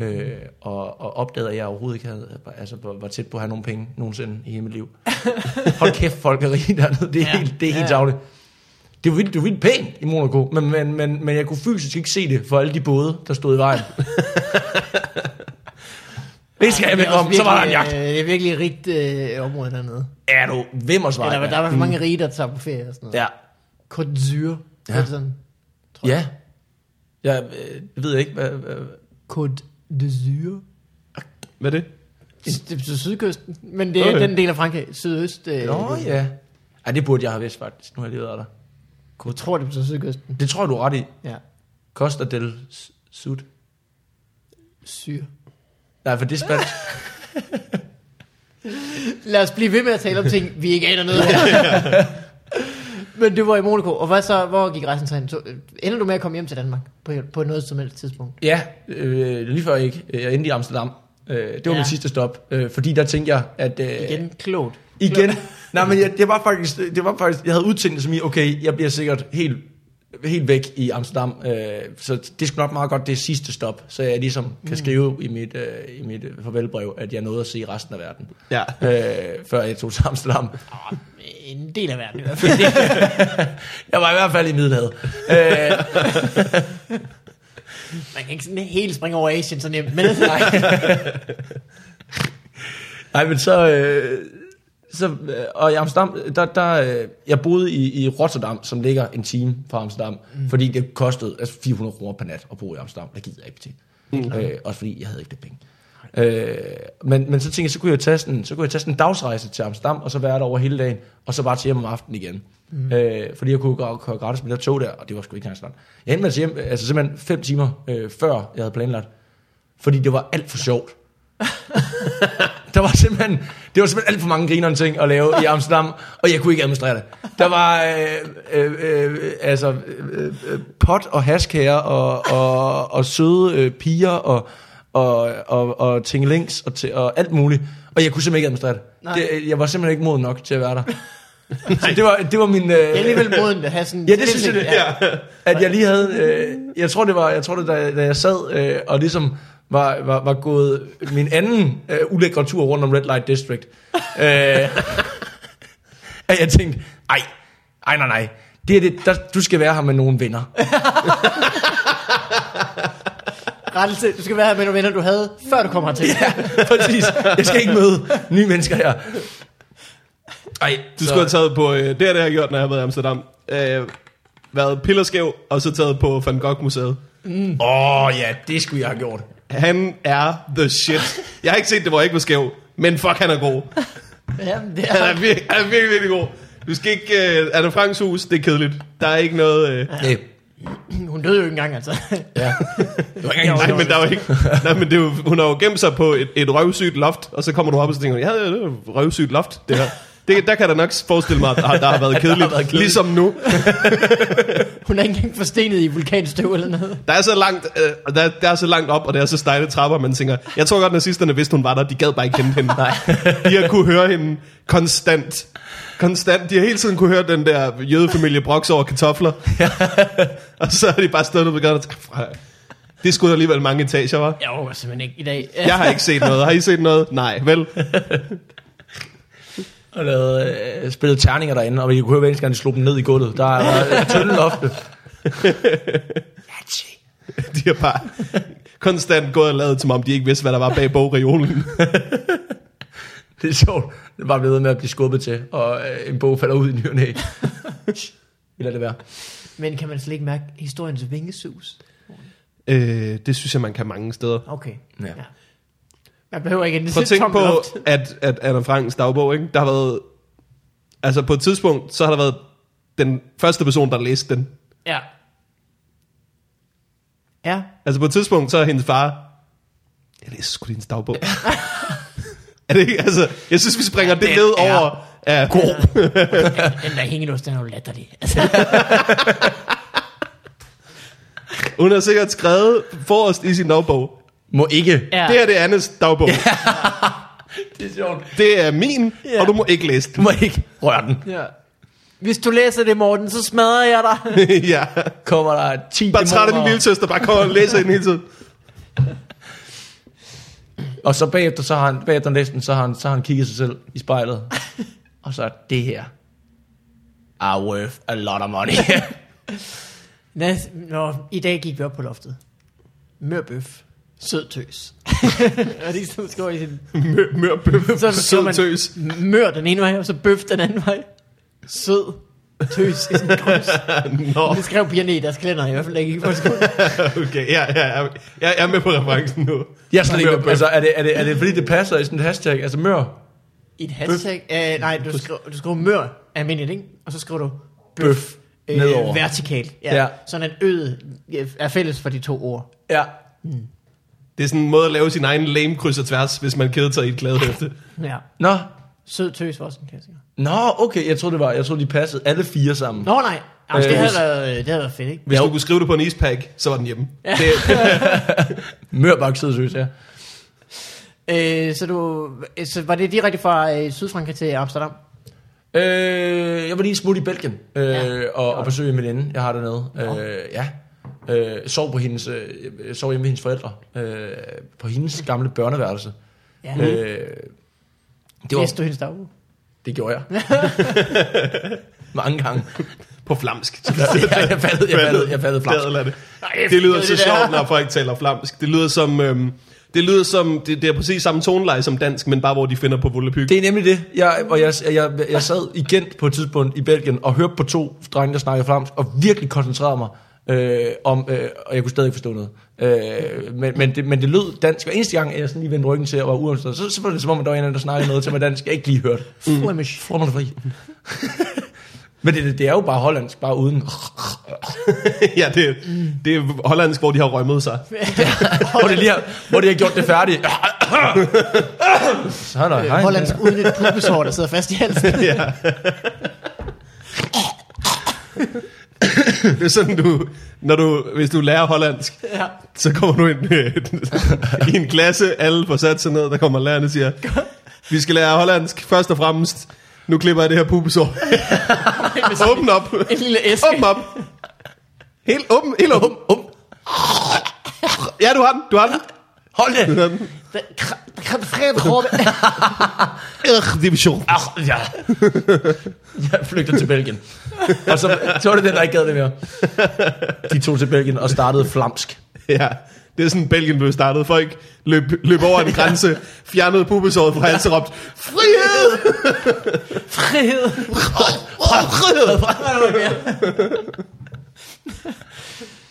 [SPEAKER 3] Øh, og, og opdagede, at jeg overhovedet ikke havde, altså, var var tæt på at have nogen penge nogensinde i hele mit liv. Hold kæft, folk er rige dernede. Det er
[SPEAKER 2] Ja.
[SPEAKER 3] ja. helt, det er helt
[SPEAKER 2] Ja.
[SPEAKER 3] ja. Det var vildt, det var vildt pænt i Monaco, men, men, men, men jeg kunne fysisk ikke se det for alle de både, der stod i vejen. det skal jeg med
[SPEAKER 2] Det er også
[SPEAKER 3] om. Så var der en
[SPEAKER 2] virkelig,
[SPEAKER 3] jagt.
[SPEAKER 2] øh, Det er virkelig et rigt øh, område dernede.
[SPEAKER 3] Er du vimmersvej?
[SPEAKER 2] Eller, der er i hvert fald mange rige, der tager på ferie og sådan noget.
[SPEAKER 3] Mm. Ja.
[SPEAKER 2] Côte d'Azur.
[SPEAKER 3] Ja.
[SPEAKER 2] Ja. Sådan.
[SPEAKER 3] Ja. Jeg øh, ved ikke, hvad... hvad
[SPEAKER 2] Øh, Côte d'Azur.
[SPEAKER 1] Hvad er det?
[SPEAKER 2] Det er på sydkysten, men det er
[SPEAKER 1] Okay.
[SPEAKER 2] den del af Frankrig, sydøst. Øh,
[SPEAKER 3] Nå ja. Ej, det burde jeg have vidst faktisk. Nu har jeg levet af dig.
[SPEAKER 2] Jeg tror, det er på sydkysten.
[SPEAKER 3] Det tror jeg, du er ret i.
[SPEAKER 2] Ja.
[SPEAKER 3] Costa del S- Sud.
[SPEAKER 2] Syr.
[SPEAKER 3] Nej, for det er spansk.
[SPEAKER 2] Ah. Lad os blive ved med at tale om ting, vi ikke aner noget om. men du var i Monaco, og hvad så, hvor gik rejsen så hen? Så, øh, Ender du med at komme hjem til Danmark på, på noget som helst tidspunkt?
[SPEAKER 3] ja, øh, lige før ikke. Jeg endte i Amsterdam. Øh, det var
[SPEAKER 2] Ja.
[SPEAKER 3] ja. min sidste stop. Øh, fordi der tænkte jeg, at... Øh,
[SPEAKER 2] Igen, klogt.
[SPEAKER 3] Igen. Nej, men jeg, det var faktisk, det var faktisk, jeg havde udtænkt det som i, okay, jeg bliver sikkert helt, helt væk i Amsterdam, øh, så det skulle nok meget godt det sidste stop, så jeg ligesom kan skrive i mit, øh, i mit øh, farvelbrev, at jeg nåede at se resten af verden,
[SPEAKER 1] Ja.
[SPEAKER 3] øh, før jeg tog til Amsterdam.
[SPEAKER 2] Åh, En del af verden i hvert fald.
[SPEAKER 3] Jeg var i hvert fald i Middelhavet. Øh,
[SPEAKER 2] Man kan ikke sådan helt springe over Asien så nemt, men altså,
[SPEAKER 3] Nej, men så... Øh, så øh, og i Amsterdam, der, der, øh, jeg boede i, i Rotterdam, som ligger en time fra Amsterdam, mm. fordi det kostede altså 400 kroner per nat at bo i Amsterdam. Det gider jeg ikke til. Mm. Øh, også fordi jeg havde ikke det penge. Øh, men, men så tænkte jeg, så kunne jeg tage sådan, så kunne jeg tage sådan en dagsrejse til Amsterdam, og så være der over hele dagen, og så bare til hjem om aftenen igen. Mm. Øh, fordi jeg kunne gå køre gratis med det tog der, og det var sgu ikke engang så langt. Jeg endte med at tage hjem, altså simpelthen fem timer øh, før jeg havde planlagt, fordi det var alt for sjovt. Der var simpelthen, det var simpelthen alt for mange grinerende ting at lave i Amsterdam, og jeg kunne ikke administrere det. Der var øh, øh, øh, altså, øh, øh, pot og haskager og, og, og søde øh, piger og, og, og, og tingelinks og, t- og alt muligt, og jeg kunne simpelthen ikke administrere det.
[SPEAKER 2] Nej.
[SPEAKER 3] det. Jeg var simpelthen ikke moden nok til at være der. Så det var, det var min...
[SPEAKER 2] det er
[SPEAKER 3] Øh,
[SPEAKER 2] alligevel moden at have sådan...
[SPEAKER 3] Ja, det synes jeg, det
[SPEAKER 2] Ja.
[SPEAKER 3] er. At jeg lige havde, øh, jeg tror det var, jeg tror det, da, da jeg sad øh, og ligesom var, var, var gået min anden øh, ulækre tur rundt om Red Light District, øh, at jeg tænkte, ej, ej nej nej, det er det, der, du skal være her med nogle venner.
[SPEAKER 2] Rettelse, du skal være her med nogle venner, du havde, før du kom hertil.
[SPEAKER 3] Ja, præcis. Jeg skal ikke møde nye mennesker her. Ej,
[SPEAKER 1] Du skulle have taget på, øh, det er det, jeg har gjort, når jeg har været i Amsterdam. Øh, været pillerskæv, og så taget på Van Gogh-museet.
[SPEAKER 3] Åh oh, ja, det skulle jeg have gjort.
[SPEAKER 1] Han er the shit. Jeg har ikke set det, hvor jeg ikke var skæv, men fuck, han er god.
[SPEAKER 2] Ja, det
[SPEAKER 1] Han
[SPEAKER 2] er,
[SPEAKER 1] er, vir- han er virkelig, virkelig god. Du skal ikke... Øh, Anne Franks hus, det er kedeligt. Der er ikke noget... Øh,
[SPEAKER 3] Ja.
[SPEAKER 2] hun døde jo ikke engang, altså.
[SPEAKER 3] ja. Det var ikke
[SPEAKER 2] Jo,
[SPEAKER 3] engang
[SPEAKER 1] nej, men der er jo ikke... Nej, men det er jo, hun har jo gemt sig på et, et røvsygt loft, og så kommer du op og så tænker, du, ja, det er jo et røvsygt loft, det her. Det, der kan der nok forestille mig, at der, der har været kedeligt,
[SPEAKER 3] været kedeligt.
[SPEAKER 1] ligesom nu.
[SPEAKER 2] Hun er ikke engang forstenet i vulkanstøv eller noget.
[SPEAKER 1] Der er så langt, øh, og der, der er så langt op, og der er så stejle trapper, man tænker, jeg tror godt, nazisterne vidste, hun var der, de gad bare ikke kende hende. Nej. De har kunne høre hende konstant. Konstant. De har hele tiden kunne høre den der jødefamilie broks over kartofler. og så har de bare stået og begyndt at det skulle alligevel mange etager, var.
[SPEAKER 2] Jeg overgår simpelthen ikke i dag.
[SPEAKER 1] Jeg har ikke set noget. Har I set noget? Nej, vel?
[SPEAKER 3] og lavede, øh, spillede terninger derinde, og vi kunne høre, hver eneste gang de slog dem ned i gulvet. Der var tynde lofte.
[SPEAKER 1] De har bare konstant gået og lavet, som om de ikke vidste, hvad der var bag bogreolen.
[SPEAKER 3] Det er sjovt. Det er bare blevet ved med at blive skubbet til, og øh, en bog falder ud i ny og næ. Vi lader det være.
[SPEAKER 2] Men kan man slet ikke mærke historiens vingesus?
[SPEAKER 1] øh, det synes jeg, man kan mange steder.
[SPEAKER 2] Okay.
[SPEAKER 3] Ja.
[SPEAKER 2] Man behøver ikke en
[SPEAKER 1] Prøv at tænke
[SPEAKER 2] lille tom
[SPEAKER 1] på,
[SPEAKER 2] loft.
[SPEAKER 1] at, at Anna Franks dagbog, ikke? der har været... Altså på et tidspunkt, så har der været den første person, der læste den.
[SPEAKER 2] Ja. Ja.
[SPEAKER 1] Altså på et tidspunkt, så er hendes far... Jeg læser sgu din dagbog. er det ikke? Altså, jeg synes, vi springer det
[SPEAKER 2] Den
[SPEAKER 1] ned
[SPEAKER 2] er
[SPEAKER 1] over... Ja,
[SPEAKER 2] Den der hængelås, den er jo latterlig. Altså,
[SPEAKER 1] hun har sikkert skrevet forrest i sin dagbog.
[SPEAKER 3] Må ikke.
[SPEAKER 2] ja.
[SPEAKER 1] Det her det er Annes dagbog.
[SPEAKER 3] Det er sjovt.
[SPEAKER 1] Det er min, og du må ikke læse
[SPEAKER 3] Du
[SPEAKER 1] den.
[SPEAKER 3] må ikke røre den.
[SPEAKER 2] ja. Hvis du læser det, Morten, så smadrer jeg dig.
[SPEAKER 1] ja.
[SPEAKER 3] Kommer der 10
[SPEAKER 1] Bare træt af din
[SPEAKER 3] dæmoner.
[SPEAKER 1] lille søster, bare kommer og læser den hele tiden.
[SPEAKER 3] Og så bagefter, så har han, bagefter han læste den, så har han, så har han kigget sig selv i spejlet. og så er det her. Are worth a lot of money.
[SPEAKER 2] Næs- Nå, i dag gik vi op på loftet. Mørbøf. Sød tøs. og det sådan skriver i sin...
[SPEAKER 1] Mør, mør, bøf,
[SPEAKER 2] Så skriver
[SPEAKER 1] sød
[SPEAKER 2] man
[SPEAKER 1] tøs.
[SPEAKER 2] Mør den ene vej, og så bøf den anden vej. Sød tøs i sådan en kryds.
[SPEAKER 1] Nå.
[SPEAKER 2] Det skrev pigerne i deres kalender i hvert fald, da jeg gik på skole.
[SPEAKER 1] Okay, ja, ja, ja. Jeg er med på referencen nu.
[SPEAKER 3] jeg er slet ikke,
[SPEAKER 1] Mør-
[SPEAKER 3] altså, er det, er, det, er det fordi, det passer i sådan et hashtag? Altså mør,
[SPEAKER 2] I et hashtag... Øh, nej, du skrev, du skrev mør almindeligt, ikke? Og så skrev du bøf.
[SPEAKER 3] bøf,
[SPEAKER 2] øh,
[SPEAKER 3] nedover.
[SPEAKER 2] vertikalt. Ja.
[SPEAKER 3] Ja.
[SPEAKER 2] ja. Sådan at øget øh, er fælles for de to ord.
[SPEAKER 3] Ja.
[SPEAKER 1] Det er sådan en måde at lave sin egen lame kryds og tværs, hvis man keder sig i et glædehæfte.
[SPEAKER 2] Ja.
[SPEAKER 3] Nå,
[SPEAKER 2] Sød tøs var også en klassiker.
[SPEAKER 3] Nå, okay, jeg troede, det var, jeg troede, de passede alle fire sammen.
[SPEAKER 2] Nå nej, Jamen,
[SPEAKER 3] Øh,
[SPEAKER 2] det, havde været, det havde været fedt, ikke?
[SPEAKER 1] Hvis du kunne skrive det på en ispack, så var den hjemme. Ja. Det,
[SPEAKER 3] Mørbak synes jeg.
[SPEAKER 2] Øh, så, du, så var det direkte fra øh, Sydfrankrig til Amsterdam?
[SPEAKER 3] Øh, jeg var lige smut i Belgien øh,
[SPEAKER 2] Ja.
[SPEAKER 3] og, og besøgte en veninde, jeg har dernede. Øh, ja. Øh, sov, på hendes, øh, sov hjemme ved hendes forældre. Øh, på hendes gamle børneværelse.
[SPEAKER 2] Ja.
[SPEAKER 3] Mm.
[SPEAKER 2] Øh,
[SPEAKER 3] Øh, det,
[SPEAKER 2] det
[SPEAKER 3] var,
[SPEAKER 2] var... du hendes dagbog?
[SPEAKER 3] det gjorde jeg. Mange gange.
[SPEAKER 1] på flamsk.
[SPEAKER 3] Jeg, jeg fattede, jeg fattede, jeg fattede flamsk.
[SPEAKER 1] Fladet er det.
[SPEAKER 2] Ej,
[SPEAKER 1] Det lyder
[SPEAKER 2] det
[SPEAKER 1] så
[SPEAKER 2] der.
[SPEAKER 1] sjovt, når folk taler flamsk. Det lyder som... Øhm, det lyder som, det, det er præcis samme toneleje som dansk, men bare hvor de finder på vullepyg.
[SPEAKER 3] Det er nemlig det. Jeg, og jeg, jeg, jeg, jeg sad i Gent på et tidspunkt i Belgien og hørte på to drenge, der snakkede flamsk, og virkelig koncentrerede mig øh, om, øh, og jeg kunne stadig ikke forstå noget. Øh, men, men, det, men det lød dansk, og eneste gang, jeg sådan lige vendte ryggen til og var uomstændig, så, så var det som om, at der var en eller anden, der snakkede noget til mig dansk, jeg ikke lige hørte.
[SPEAKER 2] Flemish.
[SPEAKER 3] Flå mig da fri. men det, det er jo bare hollandsk, bare uden...
[SPEAKER 1] ja, det, det er hollandsk, hvor de har rømmet sig.
[SPEAKER 3] hvor, det lige har, hvor det har gjort det færdigt. så er der hej.
[SPEAKER 2] Hollandsk uden et pubeshår, der sidder fast i halsen.
[SPEAKER 1] ja. det er sådan, du, når du, hvis du lærer hollandsk,
[SPEAKER 2] ja.
[SPEAKER 1] Så kommer du ind øh, i en klasse, alle får sat sig ned, der kommer lærerne og siger, vi skal lære hollandsk først og fremmest. Nu klipper jeg det her pubesår. åbn op.
[SPEAKER 2] En lille æske.
[SPEAKER 1] Åbn op. Helt åben, helt åben.
[SPEAKER 3] Um,
[SPEAKER 1] Ja, du har den, du har den.
[SPEAKER 3] hold det!
[SPEAKER 1] Du har den.
[SPEAKER 2] Der- kr- kr- fred- råd-
[SPEAKER 1] Ugh, division.
[SPEAKER 3] Ach, ja. Jeg flygter til Belgien. Og så, så var det den, der ikke gad det mere. De tog til Belgien og startede flamsk.
[SPEAKER 1] Ja, Det er sådan, Belgien blev startet. Folk løb, løb over en grænse, fjernede pubesåret fra halsen og råbte, frihed!
[SPEAKER 2] Frihed.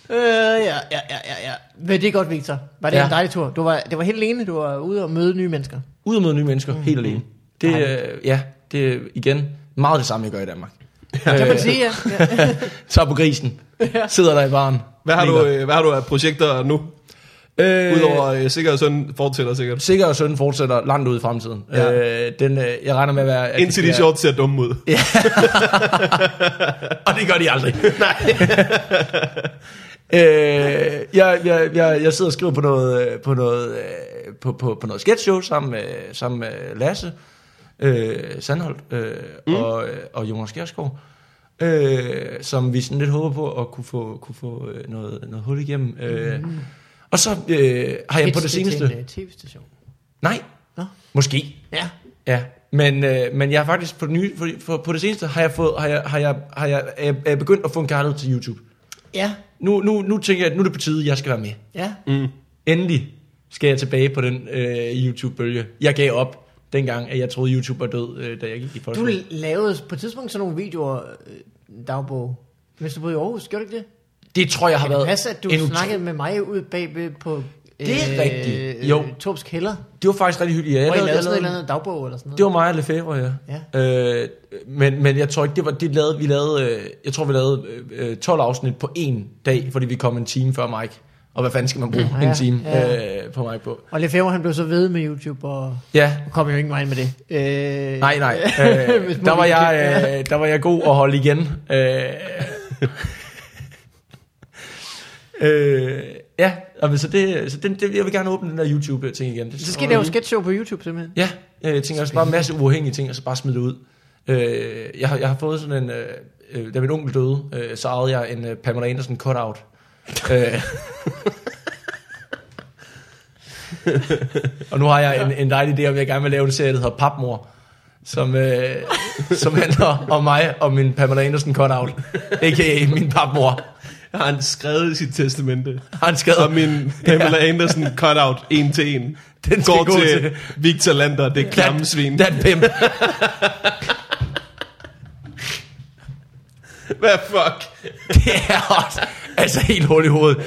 [SPEAKER 2] Øh, ja, ja, ja, ja, ja. Men det er godt, Victor. Var det
[SPEAKER 3] Ja.
[SPEAKER 2] ja. en dejlig tur? Du var, det var helt alene, du var ude og møde nye mennesker.
[SPEAKER 3] Ud mod nye mennesker, mm. helt alene. Det, øh, ja, det er igen meget det samme, jeg gør i Danmark. Øh,
[SPEAKER 2] Ja. Kan man sige, ja. ja.
[SPEAKER 3] Tager på grisen, sidder der i baren.
[SPEAKER 1] Hvad har, du,
[SPEAKER 3] griner.
[SPEAKER 1] øh, hvad har du af projekter nu?
[SPEAKER 3] Øh,
[SPEAKER 1] Udover øh, sikkert sådan fortsætter sikkert.
[SPEAKER 3] Sikker og Søn fortsætter langt ud i fremtiden.
[SPEAKER 1] Ja.
[SPEAKER 3] Ja. Øh, den, øh, jeg regner med at være... at
[SPEAKER 1] Indtil de
[SPEAKER 3] bliver-
[SPEAKER 1] shorts ser dumme ud.
[SPEAKER 3] Og det gør de aldrig. Nej. øh, jeg, jeg, jeg, jeg sidder og skriver på noget, øh, på noget, øh, på, på, på noget sketch show sammen med, sammen med Lasse øh, Sandholt øh, mm. og, øh, og Jonas Gerskov. Øh, som vi sådan lidt håber på at kunne få, kunne få øh, noget, noget hul igennem. Øh, mm. Og så øh, har jeg på det
[SPEAKER 2] Pitch til
[SPEAKER 3] seneste...
[SPEAKER 2] en, øh, tv-station.
[SPEAKER 3] Nej,
[SPEAKER 2] Nå.
[SPEAKER 3] måske.
[SPEAKER 2] Ja.
[SPEAKER 3] Ja, men, øh, men jeg har faktisk på det, nye, på, på, på det seneste, har jeg, fået, har jeg, har jeg, har jeg, er jeg, er jeg begyndt at få en kærlighed til YouTube.
[SPEAKER 2] Ja.
[SPEAKER 3] Nu, nu, nu tænker jeg, at nu er det på tide, at jeg skal være med.
[SPEAKER 2] Ja.
[SPEAKER 3] Mm. Endelig skal jeg tilbage på den øh, YouTube-bølge. Jeg gav op dengang, at jeg troede, YouTube var død, øh, da jeg gik i
[SPEAKER 2] Du
[SPEAKER 3] folkeskole.
[SPEAKER 2] lavede på et tidspunkt sådan nogle videoer, øh, dagbog, mens du boede i Aarhus. Gjorde du ikke det?
[SPEAKER 3] Det tror jeg har
[SPEAKER 2] Kan det
[SPEAKER 3] været...
[SPEAKER 2] passe, at du
[SPEAKER 3] en utro-
[SPEAKER 2] snakkede med mig ude bagved på... øh,
[SPEAKER 3] Det er rigtigt. Jo.
[SPEAKER 2] Torps Kælder,
[SPEAKER 3] Det var faktisk rigtig hyggeligt. Ja,
[SPEAKER 2] hvor I lavede
[SPEAKER 3] jeg
[SPEAKER 2] sådan et eller andet dagbog eller sådan noget.
[SPEAKER 3] Det var mig og Lefebvre, ja. ja. Øh, men, men jeg tror ikke, det var, det lavede, vi lavede, øh, jeg tror vi lavede øh, øh, 12 afsnit på en dag, fordi vi kom en time før Mike. Og hvad fanden skal man bruge
[SPEAKER 2] Ja,
[SPEAKER 3] ja, en time
[SPEAKER 2] ja.
[SPEAKER 3] ja. Øh, på Mike på?
[SPEAKER 2] Og Lefebvre, han blev så ved med YouTube, og
[SPEAKER 3] Ja,
[SPEAKER 2] kom jo ingen vej med det. Øh,
[SPEAKER 3] nej, nej.
[SPEAKER 2] Hvis man
[SPEAKER 3] Øh, der, var
[SPEAKER 2] vil-
[SPEAKER 3] jeg, øh, der var jeg god at holde igen. Øh, øh, ja, og så, det, så det, det, jeg vil gerne åbne den der YouTube-ting igen. Det
[SPEAKER 2] Så skal I lave sketch show på YouTube simpelthen.
[SPEAKER 3] Ja, øh, jeg tænker også bare en masse uafhængige ting, og så bare smide det ud. Øh, jeg, har, jeg har fået sådan en, øh, øh, da min onkel døde, øh, så ejede jeg en øh, Pamela Andersen cutout. øh. og nu har jeg en, en dejlig idé om, jeg gerne vil lave en serie, der hedder Papmor, som, øh, som handler om mig og min Pamela Andersen cutout, a.k.a. min papmor.
[SPEAKER 1] Har han skrevet i sit testamente.
[SPEAKER 3] Han skader
[SPEAKER 1] Og min Pamela Andersen cut-out en til en.
[SPEAKER 3] Den skal
[SPEAKER 1] går
[SPEAKER 3] gå
[SPEAKER 1] til,
[SPEAKER 3] til-
[SPEAKER 1] Victor Lander, det klamme svin.
[SPEAKER 3] Den pimp.
[SPEAKER 1] Hvad fuck?
[SPEAKER 3] Det er også, altså helt hul i hovedet.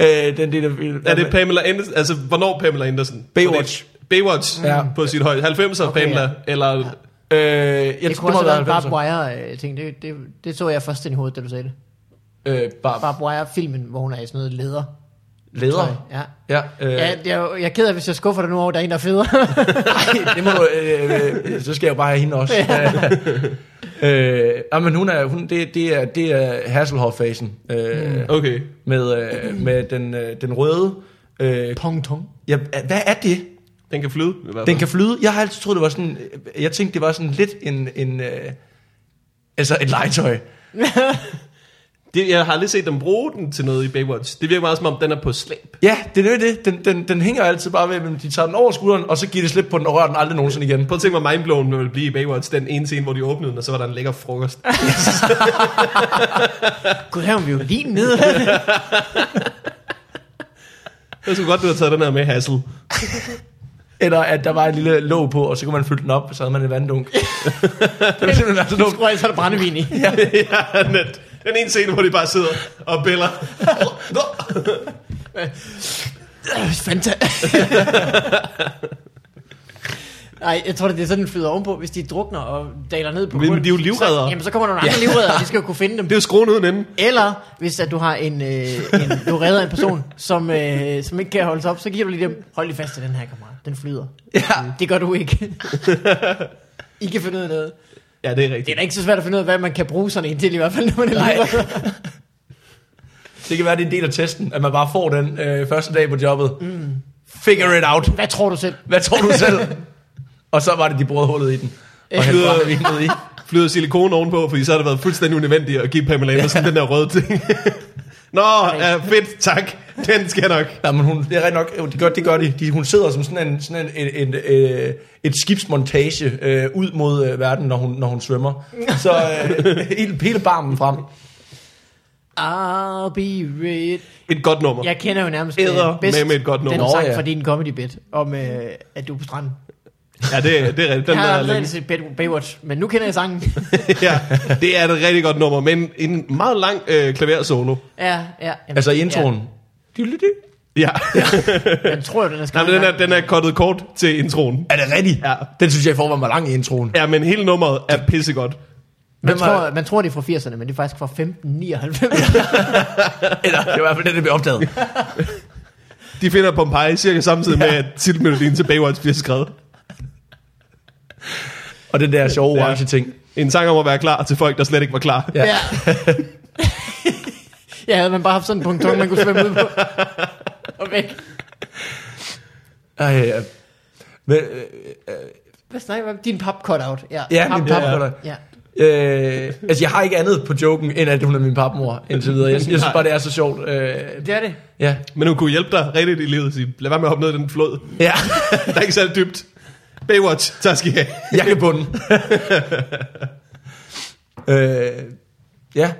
[SPEAKER 3] Øh, den del af filmen.
[SPEAKER 1] Er det Pamela Andersen? Altså, hvornår Pamela Andersen?
[SPEAKER 3] Baywatch.
[SPEAKER 1] Fordi- Baywatch ja.
[SPEAKER 3] Ja.
[SPEAKER 1] på sit højde. 90'er okay, Pamela, ja. eller...
[SPEAKER 3] Øh, jeg
[SPEAKER 2] Det kunne
[SPEAKER 3] tror, det må
[SPEAKER 2] også have
[SPEAKER 3] have
[SPEAKER 2] været en
[SPEAKER 3] været
[SPEAKER 2] Barb Wire øh, ting. Det, det, det så jeg først ind i hovedet, da du sagde det.
[SPEAKER 3] 90'er. Øh, Barb.
[SPEAKER 2] Barb Wire filmen, hvor hun er i sådan noget leder.
[SPEAKER 3] Leder.
[SPEAKER 2] Ja.
[SPEAKER 3] Ja, øh,
[SPEAKER 2] Ja, jeg, jeg, jeg er ked af, hvis jeg skuffer dig nu over, at der er en, der er federe.
[SPEAKER 3] det må du, øh, øh, så skal jeg jo bare have hende også. øh, nej, men hun er, hun, det, det er, det er Hasselhoff-fasen. Øh, mm.
[SPEAKER 1] Okay.
[SPEAKER 3] Med, øh, med den, øh, den røde. Øh,
[SPEAKER 2] Pong tong.
[SPEAKER 3] ja, hvad er det?
[SPEAKER 1] Den kan flyde, i hvert fald.
[SPEAKER 3] Den kan flyde. Jeg har altid troet, det var sådan... øh, Jeg tænkte, det var sådan lidt en... en øh, altså et legetøj.
[SPEAKER 1] Det, jeg har aldrig set dem bruge den til noget i Baywatch. Det virker meget som om, den er på slæb.
[SPEAKER 3] Ja, det er jo det. Den, den, den hænger altid bare ved, men de tager den over skulderen, og så giver det slip på den og rører den aldrig nogensinde igen.
[SPEAKER 1] Prøv at tænke, hvor mindblown man ville blive i Baywatch. Den ene scene, hvor de åbnede den, og så var der en lækker frokost.
[SPEAKER 2] Gud, her er en violin nede.
[SPEAKER 1] Jeg skulle godt, du havde taget den her med, Hassel.
[SPEAKER 3] Eller at der var en lille låg på, og så kunne man fylde den op, og så havde man en vanddunk. det var simpelthen altså været så
[SPEAKER 2] Nu
[SPEAKER 3] dumt.
[SPEAKER 2] tror jeg, så er der brændevin i.
[SPEAKER 1] ja, net. Den ene scene, hvor de bare sidder og biller.
[SPEAKER 2] Øh, Fanta. Nej, jeg tror, det er sådan, den flyder ovenpå, hvis de drukner og daler ned på
[SPEAKER 1] Men
[SPEAKER 2] bunden,
[SPEAKER 1] de er jo livreddere.
[SPEAKER 2] Så, jamen, så kommer der nogle andre livreddere, de skal jo kunne finde dem.
[SPEAKER 1] Det er jo skruen uden ende.
[SPEAKER 2] Eller hvis at du har en, øh, en du redder en person, som, øh, som ikke kan holde sig op, så giver du lige dem, hold lige fast til den her kammerat, den flyder.
[SPEAKER 3] Ja.
[SPEAKER 2] Det gør du ikke. I kan finde ud af noget.
[SPEAKER 1] Ja, det er
[SPEAKER 2] Det er
[SPEAKER 1] rigtigt.
[SPEAKER 2] da ikke så svært at finde ud af, hvad man kan bruge sådan en til, i hvert fald, når man er
[SPEAKER 3] Nej.
[SPEAKER 2] livreder.
[SPEAKER 3] Det kan være, det er en del af testen, at man bare får den øh, første dag på jobbet. Mm. Figure it out.
[SPEAKER 2] Hvad tror du selv?
[SPEAKER 3] Hvad tror du selv? og så var det, de brød hullet i den. Og hældte
[SPEAKER 1] Flyder-
[SPEAKER 3] brændevin ned i.
[SPEAKER 1] Flyder silikon ovenpå, fordi så har det været fuldstændig unødvendigt at give Pamela Andersen den der røde ting. Nå, ja, fedt, tak. Den skal jeg nok.
[SPEAKER 3] Nej, men hun, det er rigtig nok, jo, det gør, det gør de. de. Hun sidder som sådan en, sådan en, en, en, øh, et skibsmontage øh, ud mod øh, verden, når hun, når hun svømmer. Så øh, hele, hele barmen frem.
[SPEAKER 2] I'll be red.
[SPEAKER 1] Et godt nummer.
[SPEAKER 2] Jeg kender jo nærmest
[SPEAKER 1] Æder
[SPEAKER 2] øh, bedst
[SPEAKER 1] med- med et godt nummer.
[SPEAKER 2] den sang
[SPEAKER 3] Nå, ja.
[SPEAKER 2] fra din comedy bit om, øh, at du er på stranden.
[SPEAKER 1] Ja, det, det er rigtigt. Den
[SPEAKER 2] Den jeg har
[SPEAKER 1] der er
[SPEAKER 2] aldrig
[SPEAKER 1] længe.
[SPEAKER 2] set Bay- Baywatch, men nu kender jeg sangen.
[SPEAKER 1] ja, det er et rigtig godt nummer, men en meget lang øh, klaversolo.
[SPEAKER 2] ja, ja. Jamen,
[SPEAKER 3] Altså i introen. Ja.
[SPEAKER 1] Ja, ja.
[SPEAKER 2] Ja, jeg tror, den er
[SPEAKER 1] Nej,
[SPEAKER 2] skrevet.
[SPEAKER 1] men den er, den er kottet kort til introen.
[SPEAKER 3] Er det rigtigt?
[SPEAKER 1] Ja.
[SPEAKER 3] Den synes jeg i forvejen var lang i introen.
[SPEAKER 1] Ja, men hele nummeret er pissegodt.
[SPEAKER 2] man,
[SPEAKER 3] Hvem var-
[SPEAKER 2] tror, man tror, det er fra 80'erne, men det er faktisk fra 1599.
[SPEAKER 3] Eller det var i hvert fald den, der blev opdaget.
[SPEAKER 1] De finder Pompeji cirka samtidig med, at titelmelodien til Baywatch bliver skrevet.
[SPEAKER 3] Og den der sjove
[SPEAKER 1] Ja.
[SPEAKER 3] orange ting.
[SPEAKER 1] En sang om at være klar til folk, der slet ikke var klar.
[SPEAKER 3] Ja.
[SPEAKER 2] ja. ja, havde man bare haft sådan en punkt, man kunne svømme ud på. Og væk.
[SPEAKER 3] Ej, ja. Men, øh,
[SPEAKER 2] Hvad snakker vi om? Din pap cut-out. Ja,
[SPEAKER 3] ja,
[SPEAKER 2] pap,
[SPEAKER 3] min
[SPEAKER 1] ja.
[SPEAKER 3] papmor.
[SPEAKER 2] Ja.
[SPEAKER 3] Øh, altså, jeg har ikke andet på joken, end at hun er min papmor, indtil videre. Jeg, jeg synes bare, det er så sjovt. Øh,
[SPEAKER 2] Det er det.
[SPEAKER 3] ja.
[SPEAKER 1] Men hun kunne hjælpe dig rigtigt i livet. Sige, lad være med at hoppe ned i den flod.
[SPEAKER 3] ja,
[SPEAKER 1] Der er ikke særlig dybt. Baywatch, tak skal I have.
[SPEAKER 3] jeg kan bunde. øh, ja.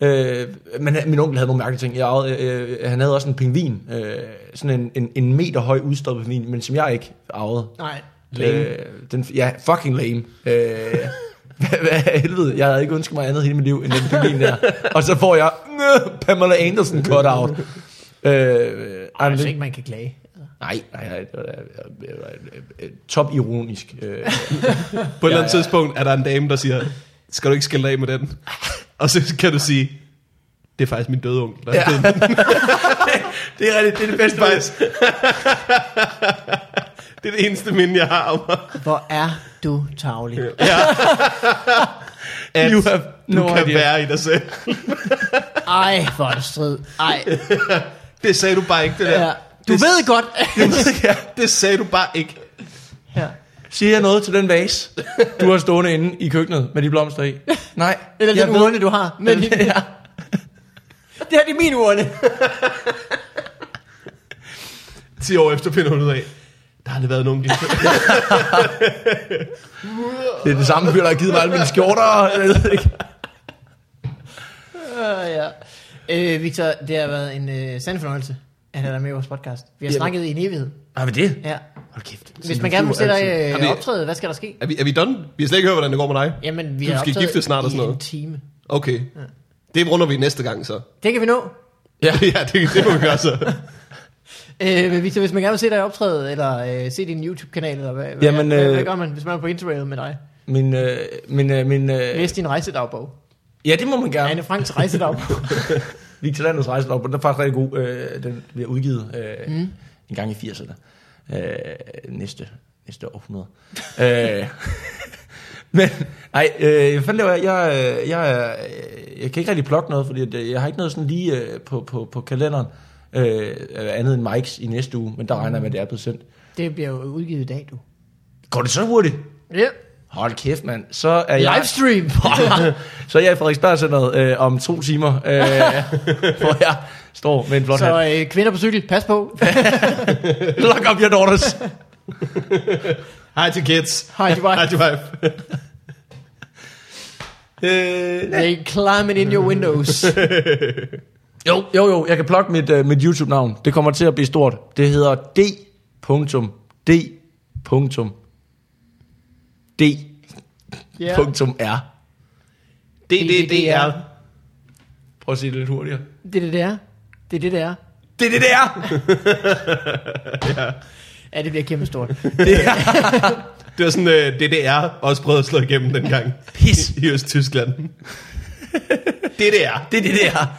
[SPEAKER 3] Øh, men han- min onkel havde nogle mærkelige ting. Jeg, ejede, øh, han havde også en pingvin. Øh, sådan en, en, en meter høj udstoppet pingvin, men som jeg ikke arvede.
[SPEAKER 2] Nej.
[SPEAKER 3] Øh, den, ja, fucking lame. Øh, hvad, hvad helvede, jeg havde ikke ønsket mig andet hele mit liv, end den pingvin der. Og så får jeg "Nå, Pamela Anderson cut out. Øh, ej, men
[SPEAKER 2] Jeg synes
[SPEAKER 3] det,
[SPEAKER 2] ikke, man kan klage.
[SPEAKER 3] nej, nej, nej, det var, da- det var, da- top ironisk. Øh,
[SPEAKER 1] På et eller andet
[SPEAKER 3] Ja, ja.
[SPEAKER 1] tidspunkt er der en dame, der siger, skal du ikke skille dig af med den? Og så kan du sige, det er faktisk min døde onkel. Der
[SPEAKER 3] Ja.
[SPEAKER 1] ja. det,
[SPEAKER 3] det er rigtigt, det er det
[SPEAKER 1] er
[SPEAKER 3] bedste faktisk.
[SPEAKER 1] faktisk, det er det eneste minde, jeg har om mig.
[SPEAKER 2] Hvor er du tavlig.
[SPEAKER 1] Ja. At
[SPEAKER 3] You have
[SPEAKER 1] du
[SPEAKER 3] no
[SPEAKER 1] kan
[SPEAKER 3] idea.
[SPEAKER 1] være i dig selv.
[SPEAKER 2] Ej, hvor er det strid. Ej.
[SPEAKER 1] Det sagde du bare ikke, det der.
[SPEAKER 2] Ja. Du
[SPEAKER 1] det,
[SPEAKER 2] ved godt.
[SPEAKER 1] ja, det sagde du bare ikke.
[SPEAKER 2] ja.
[SPEAKER 3] Siger jeg noget til den vase, du har stående inde i køkkenet med de blomster i? Nej.
[SPEAKER 2] Eller
[SPEAKER 3] jeg
[SPEAKER 2] den
[SPEAKER 3] ved-
[SPEAKER 2] urne, du har. Men
[SPEAKER 3] Den- ja.
[SPEAKER 2] det her det er min urne.
[SPEAKER 1] 10 år efter finder hun ud af, der har aldrig været nogen.
[SPEAKER 3] Det er det samme fyr, der har givet mig alle mine skjorter. Jeg ved ikke.
[SPEAKER 2] Uh, ja. Øh, Victor, det har været en øh, sand fornøjelse at have dig med i vores podcast. Vi har
[SPEAKER 3] Jamen.
[SPEAKER 2] snakket i en evighed.
[SPEAKER 3] Ej, men det?
[SPEAKER 2] Ja.
[SPEAKER 3] Hold kæft.
[SPEAKER 2] Hvis man gerne vil se dig
[SPEAKER 1] Har vi-
[SPEAKER 2] øh, optræde, hvad skal der ske?
[SPEAKER 1] Er vi, er vi done? Vi har slet ikke hørt, hvordan det går med dig.
[SPEAKER 2] Jamen, vi
[SPEAKER 1] Du
[SPEAKER 2] er
[SPEAKER 1] skal
[SPEAKER 2] optaget
[SPEAKER 1] giftes snart og
[SPEAKER 2] i
[SPEAKER 1] sådan noget.
[SPEAKER 2] en time.
[SPEAKER 1] Okay. Det runder vi næste gang så.
[SPEAKER 2] Det kan vi nå.
[SPEAKER 1] Ja, ja det, det må vi gøre så.
[SPEAKER 2] Øh, men Victor, hvis man gerne vil se dig optræde, eller øh, se din YouTube-kanal, eller hvad, hvad-
[SPEAKER 3] Jamen,
[SPEAKER 2] hvad,
[SPEAKER 3] øh,
[SPEAKER 2] hvad gør man, hvis man er på interrail med dig?
[SPEAKER 3] Min, øh, min, øh, min, øh,
[SPEAKER 2] Læs din rejsedagbog.
[SPEAKER 3] ja, det må man
[SPEAKER 2] Ja.
[SPEAKER 3] gerne.
[SPEAKER 2] Anne Franks rejsedagbog.
[SPEAKER 3] Victor Landers rejselov, den er faktisk rigtig god. Øh, den bliver udgivet øh, mm. en gang i 80'erne. Øh, næste, næste århundrede. øh, men, nej, øh, hvad fanden laver jeg? Jeg, øh, jeg, er, øh, jeg kan ikke rigtig plukke noget, fordi at, øh, jeg har ikke noget sådan lige øh, på, på, på kalenderen. Øh, andet end Mike's i næste uge, men der regner jeg med, at det er blevet sendt.
[SPEAKER 2] det bliver jo udgivet i dag, du.
[SPEAKER 3] Går det så hurtigt?
[SPEAKER 2] Ja.
[SPEAKER 3] Hold kæft, mand. Så er jeg...
[SPEAKER 2] Livestream.
[SPEAKER 3] så er jeg i Frederiksberg Centeret øh, om to timer, øh, hvor jeg står med en flot
[SPEAKER 2] Så
[SPEAKER 3] hat.
[SPEAKER 2] øh, kvinder på cykel, pas på.
[SPEAKER 3] Lock up your daughters.
[SPEAKER 1] Hej til kids.
[SPEAKER 2] Hej, du
[SPEAKER 1] Hej
[SPEAKER 2] var.
[SPEAKER 1] til wife.
[SPEAKER 3] øh,
[SPEAKER 2] They climbing in your windows.
[SPEAKER 3] jo, jo, jo. Jeg kan plukke mit, øh, mit YouTube-navn. Det kommer til at blive stort. Det hedder d.d.d.r.
[SPEAKER 2] Ja.
[SPEAKER 1] DDDR.
[SPEAKER 3] Prøv at sige det lidt hurtigere.
[SPEAKER 2] Det er det, det er. Det er det, det er.
[SPEAKER 3] Det er det, det er.
[SPEAKER 2] Ja, det bliver kæmpe stort.
[SPEAKER 3] Det er.
[SPEAKER 1] Det var sådan, uh, DDR også prøvede at slå igennem dengang.
[SPEAKER 3] Pis.
[SPEAKER 1] I, i Øst-Tyskland. DDR.
[SPEAKER 3] Det er det, det er.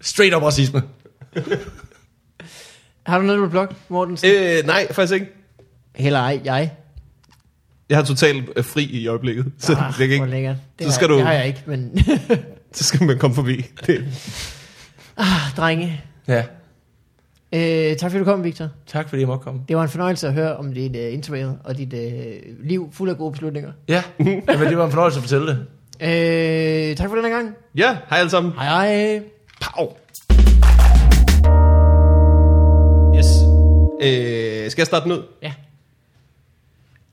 [SPEAKER 3] Straight up racisme.
[SPEAKER 2] Har du noget med blog, Morten?
[SPEAKER 1] Øh, nej, faktisk ikke.
[SPEAKER 2] Heller ej, jeg.
[SPEAKER 1] Jeg har totalt øh, fri i øjeblikket, så, ah, det kan
[SPEAKER 2] Hvor
[SPEAKER 1] ikke,
[SPEAKER 2] lækkert. Det,
[SPEAKER 1] Så
[SPEAKER 2] har
[SPEAKER 1] skal
[SPEAKER 2] jeg,
[SPEAKER 1] du-
[SPEAKER 2] det har jeg ikke, men...
[SPEAKER 1] så skal man komme forbi. Det.
[SPEAKER 2] ah, drenge.
[SPEAKER 3] Ja.
[SPEAKER 2] Øh, tak fordi du kom, Victor.
[SPEAKER 3] Tak fordi jeg måtte komme.
[SPEAKER 2] Det var en fornøjelse at høre om dit uh, interrail og dit uh, liv fuld af gode beslutninger.
[SPEAKER 3] Ja, men det var en fornøjelse at fortælle det.
[SPEAKER 2] Øh, tak for denne gang.
[SPEAKER 1] Ja, hej alle sammen.
[SPEAKER 2] Hej hej.
[SPEAKER 1] Pow. Yes. Øh, skal jeg starte den ud?
[SPEAKER 2] Ja.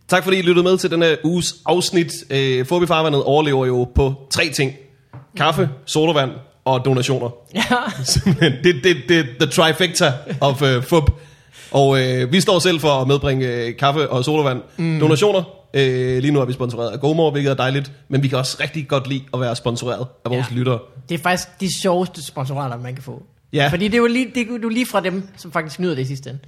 [SPEAKER 1] Tak fordi I lyttede med til denne uges afsnit. Øh, Forbi Farvandet overlever jo på tre ting. Kaffe, sodavand og donationer.
[SPEAKER 2] Ja.
[SPEAKER 1] Simpelthen. det, det, det the trifecta of uh, FUB. Og øh, vi står selv for at medbringe øh, kaffe og sodavand. Mm. Donationer. Øh, lige nu er vi sponsoreret af GoMore, hvilket er dejligt. Men vi kan også rigtig godt lide at være sponsoreret af vores
[SPEAKER 2] Ja.
[SPEAKER 1] ja. lyttere.
[SPEAKER 2] Det er faktisk de sjoveste sponsorater, man kan få.
[SPEAKER 1] Ja.
[SPEAKER 2] Fordi det er jo lige, det er jo lige fra dem, som faktisk nyder det i sidste ende.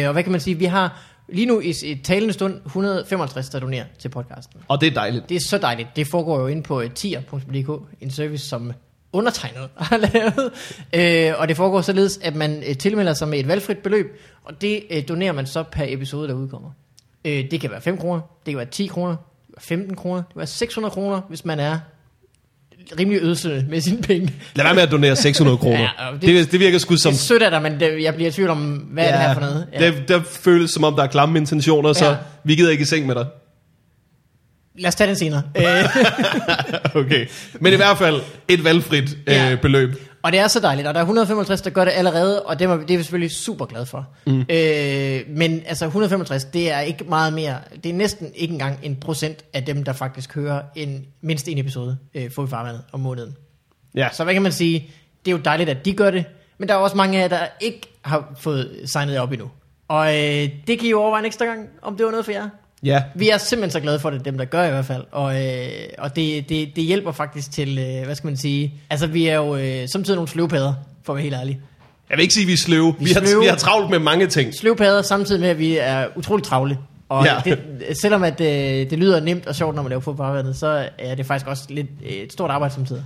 [SPEAKER 2] Øh, og hvad kan man sige? Vi har lige nu i s- i talende stund 155, der donerer til podcasten.
[SPEAKER 1] Og det er dejligt.
[SPEAKER 2] Det er så dejligt. Det foregår jo inde på øh, tier.dk, en service, som undertegnet har lavet. Øh, og det foregår således, at man øh, tilmelder sig med et valgfrit beløb, og det øh, donerer man så per episode, der udkommer. Øh, det kan være 5 kroner, det kan være 10 kroner, det kan være 15 kroner, det kan være 600 kroner, hvis man er rimelig ødsel med sine penge.
[SPEAKER 1] Lad være med at donere 600 kroner.
[SPEAKER 2] Ja, og det-
[SPEAKER 1] det, det, det virker sgu
[SPEAKER 2] Som...
[SPEAKER 1] som...
[SPEAKER 2] Det er sødt af dig, men det, jeg bliver i tvivl om, hvad ja, er det her for noget? Ja.
[SPEAKER 1] Ja. Der, der føles som om, der er klamme intentioner, så
[SPEAKER 2] Ja.
[SPEAKER 1] vi gider ikke i seng med dig.
[SPEAKER 2] Lad os tage den senere. Øh,
[SPEAKER 1] Okay. Men i hvert fald et valgfrit
[SPEAKER 2] Ja.
[SPEAKER 1] øh, beløb.
[SPEAKER 2] Og det er så dejligt, og der er 155, der gør det allerede, og det er, det er vi selvfølgelig super glade for. Mm. Øh, men altså 165, det er ikke meget mere, det er næsten ikke engang en procent af dem, der faktisk hører en, mindst en episode øh, får i farvandet om måneden.
[SPEAKER 1] Ja.
[SPEAKER 2] Så hvad kan man sige, det er jo dejligt, at de gør det, men der er også mange af jer, der ikke har fået signet op endnu. Og øh, det kan I jo overveje en ekstra gang, om det var noget for jer.
[SPEAKER 1] ja.
[SPEAKER 2] Vi er simpelthen så glade for det, dem der gør i hvert fald, og, øh, og det, det, det hjælper faktisk til, øh, hvad skal man sige, altså vi er jo øh, samtidig nogle sløvpadder, for at være helt ærlig.
[SPEAKER 1] Jeg vil ikke sige, at vi er sløve. Vi, vi, har,
[SPEAKER 2] sløve.
[SPEAKER 1] vi har travlt med mange ting.
[SPEAKER 2] Sløvpadder samtidig med, at vi er utroligt travle, og ja.
[SPEAKER 1] Ja.
[SPEAKER 2] det, selvom at, øh, det lyder nemt og sjovt, når man laver fodboldvandet, så er det faktisk også lidt øh, et stort arbejde samtidig.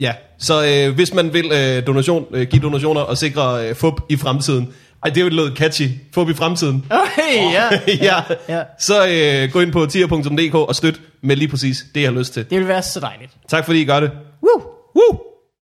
[SPEAKER 1] Ja. Så øh, hvis man vil øh, donation, øh, give donationer og sikre øh, FUB i fremtiden. Ej, det er jo lidt catchy. FUB i fremtiden.
[SPEAKER 2] Okay, ja.
[SPEAKER 1] ja.
[SPEAKER 2] ja.
[SPEAKER 1] ja. Så øh, gå ind på tier.dk og støt med lige præcis det, jeg har lyst til.
[SPEAKER 2] Det vil være så dejligt.
[SPEAKER 1] Tak fordi I gør det.
[SPEAKER 2] Woo!
[SPEAKER 1] Woo!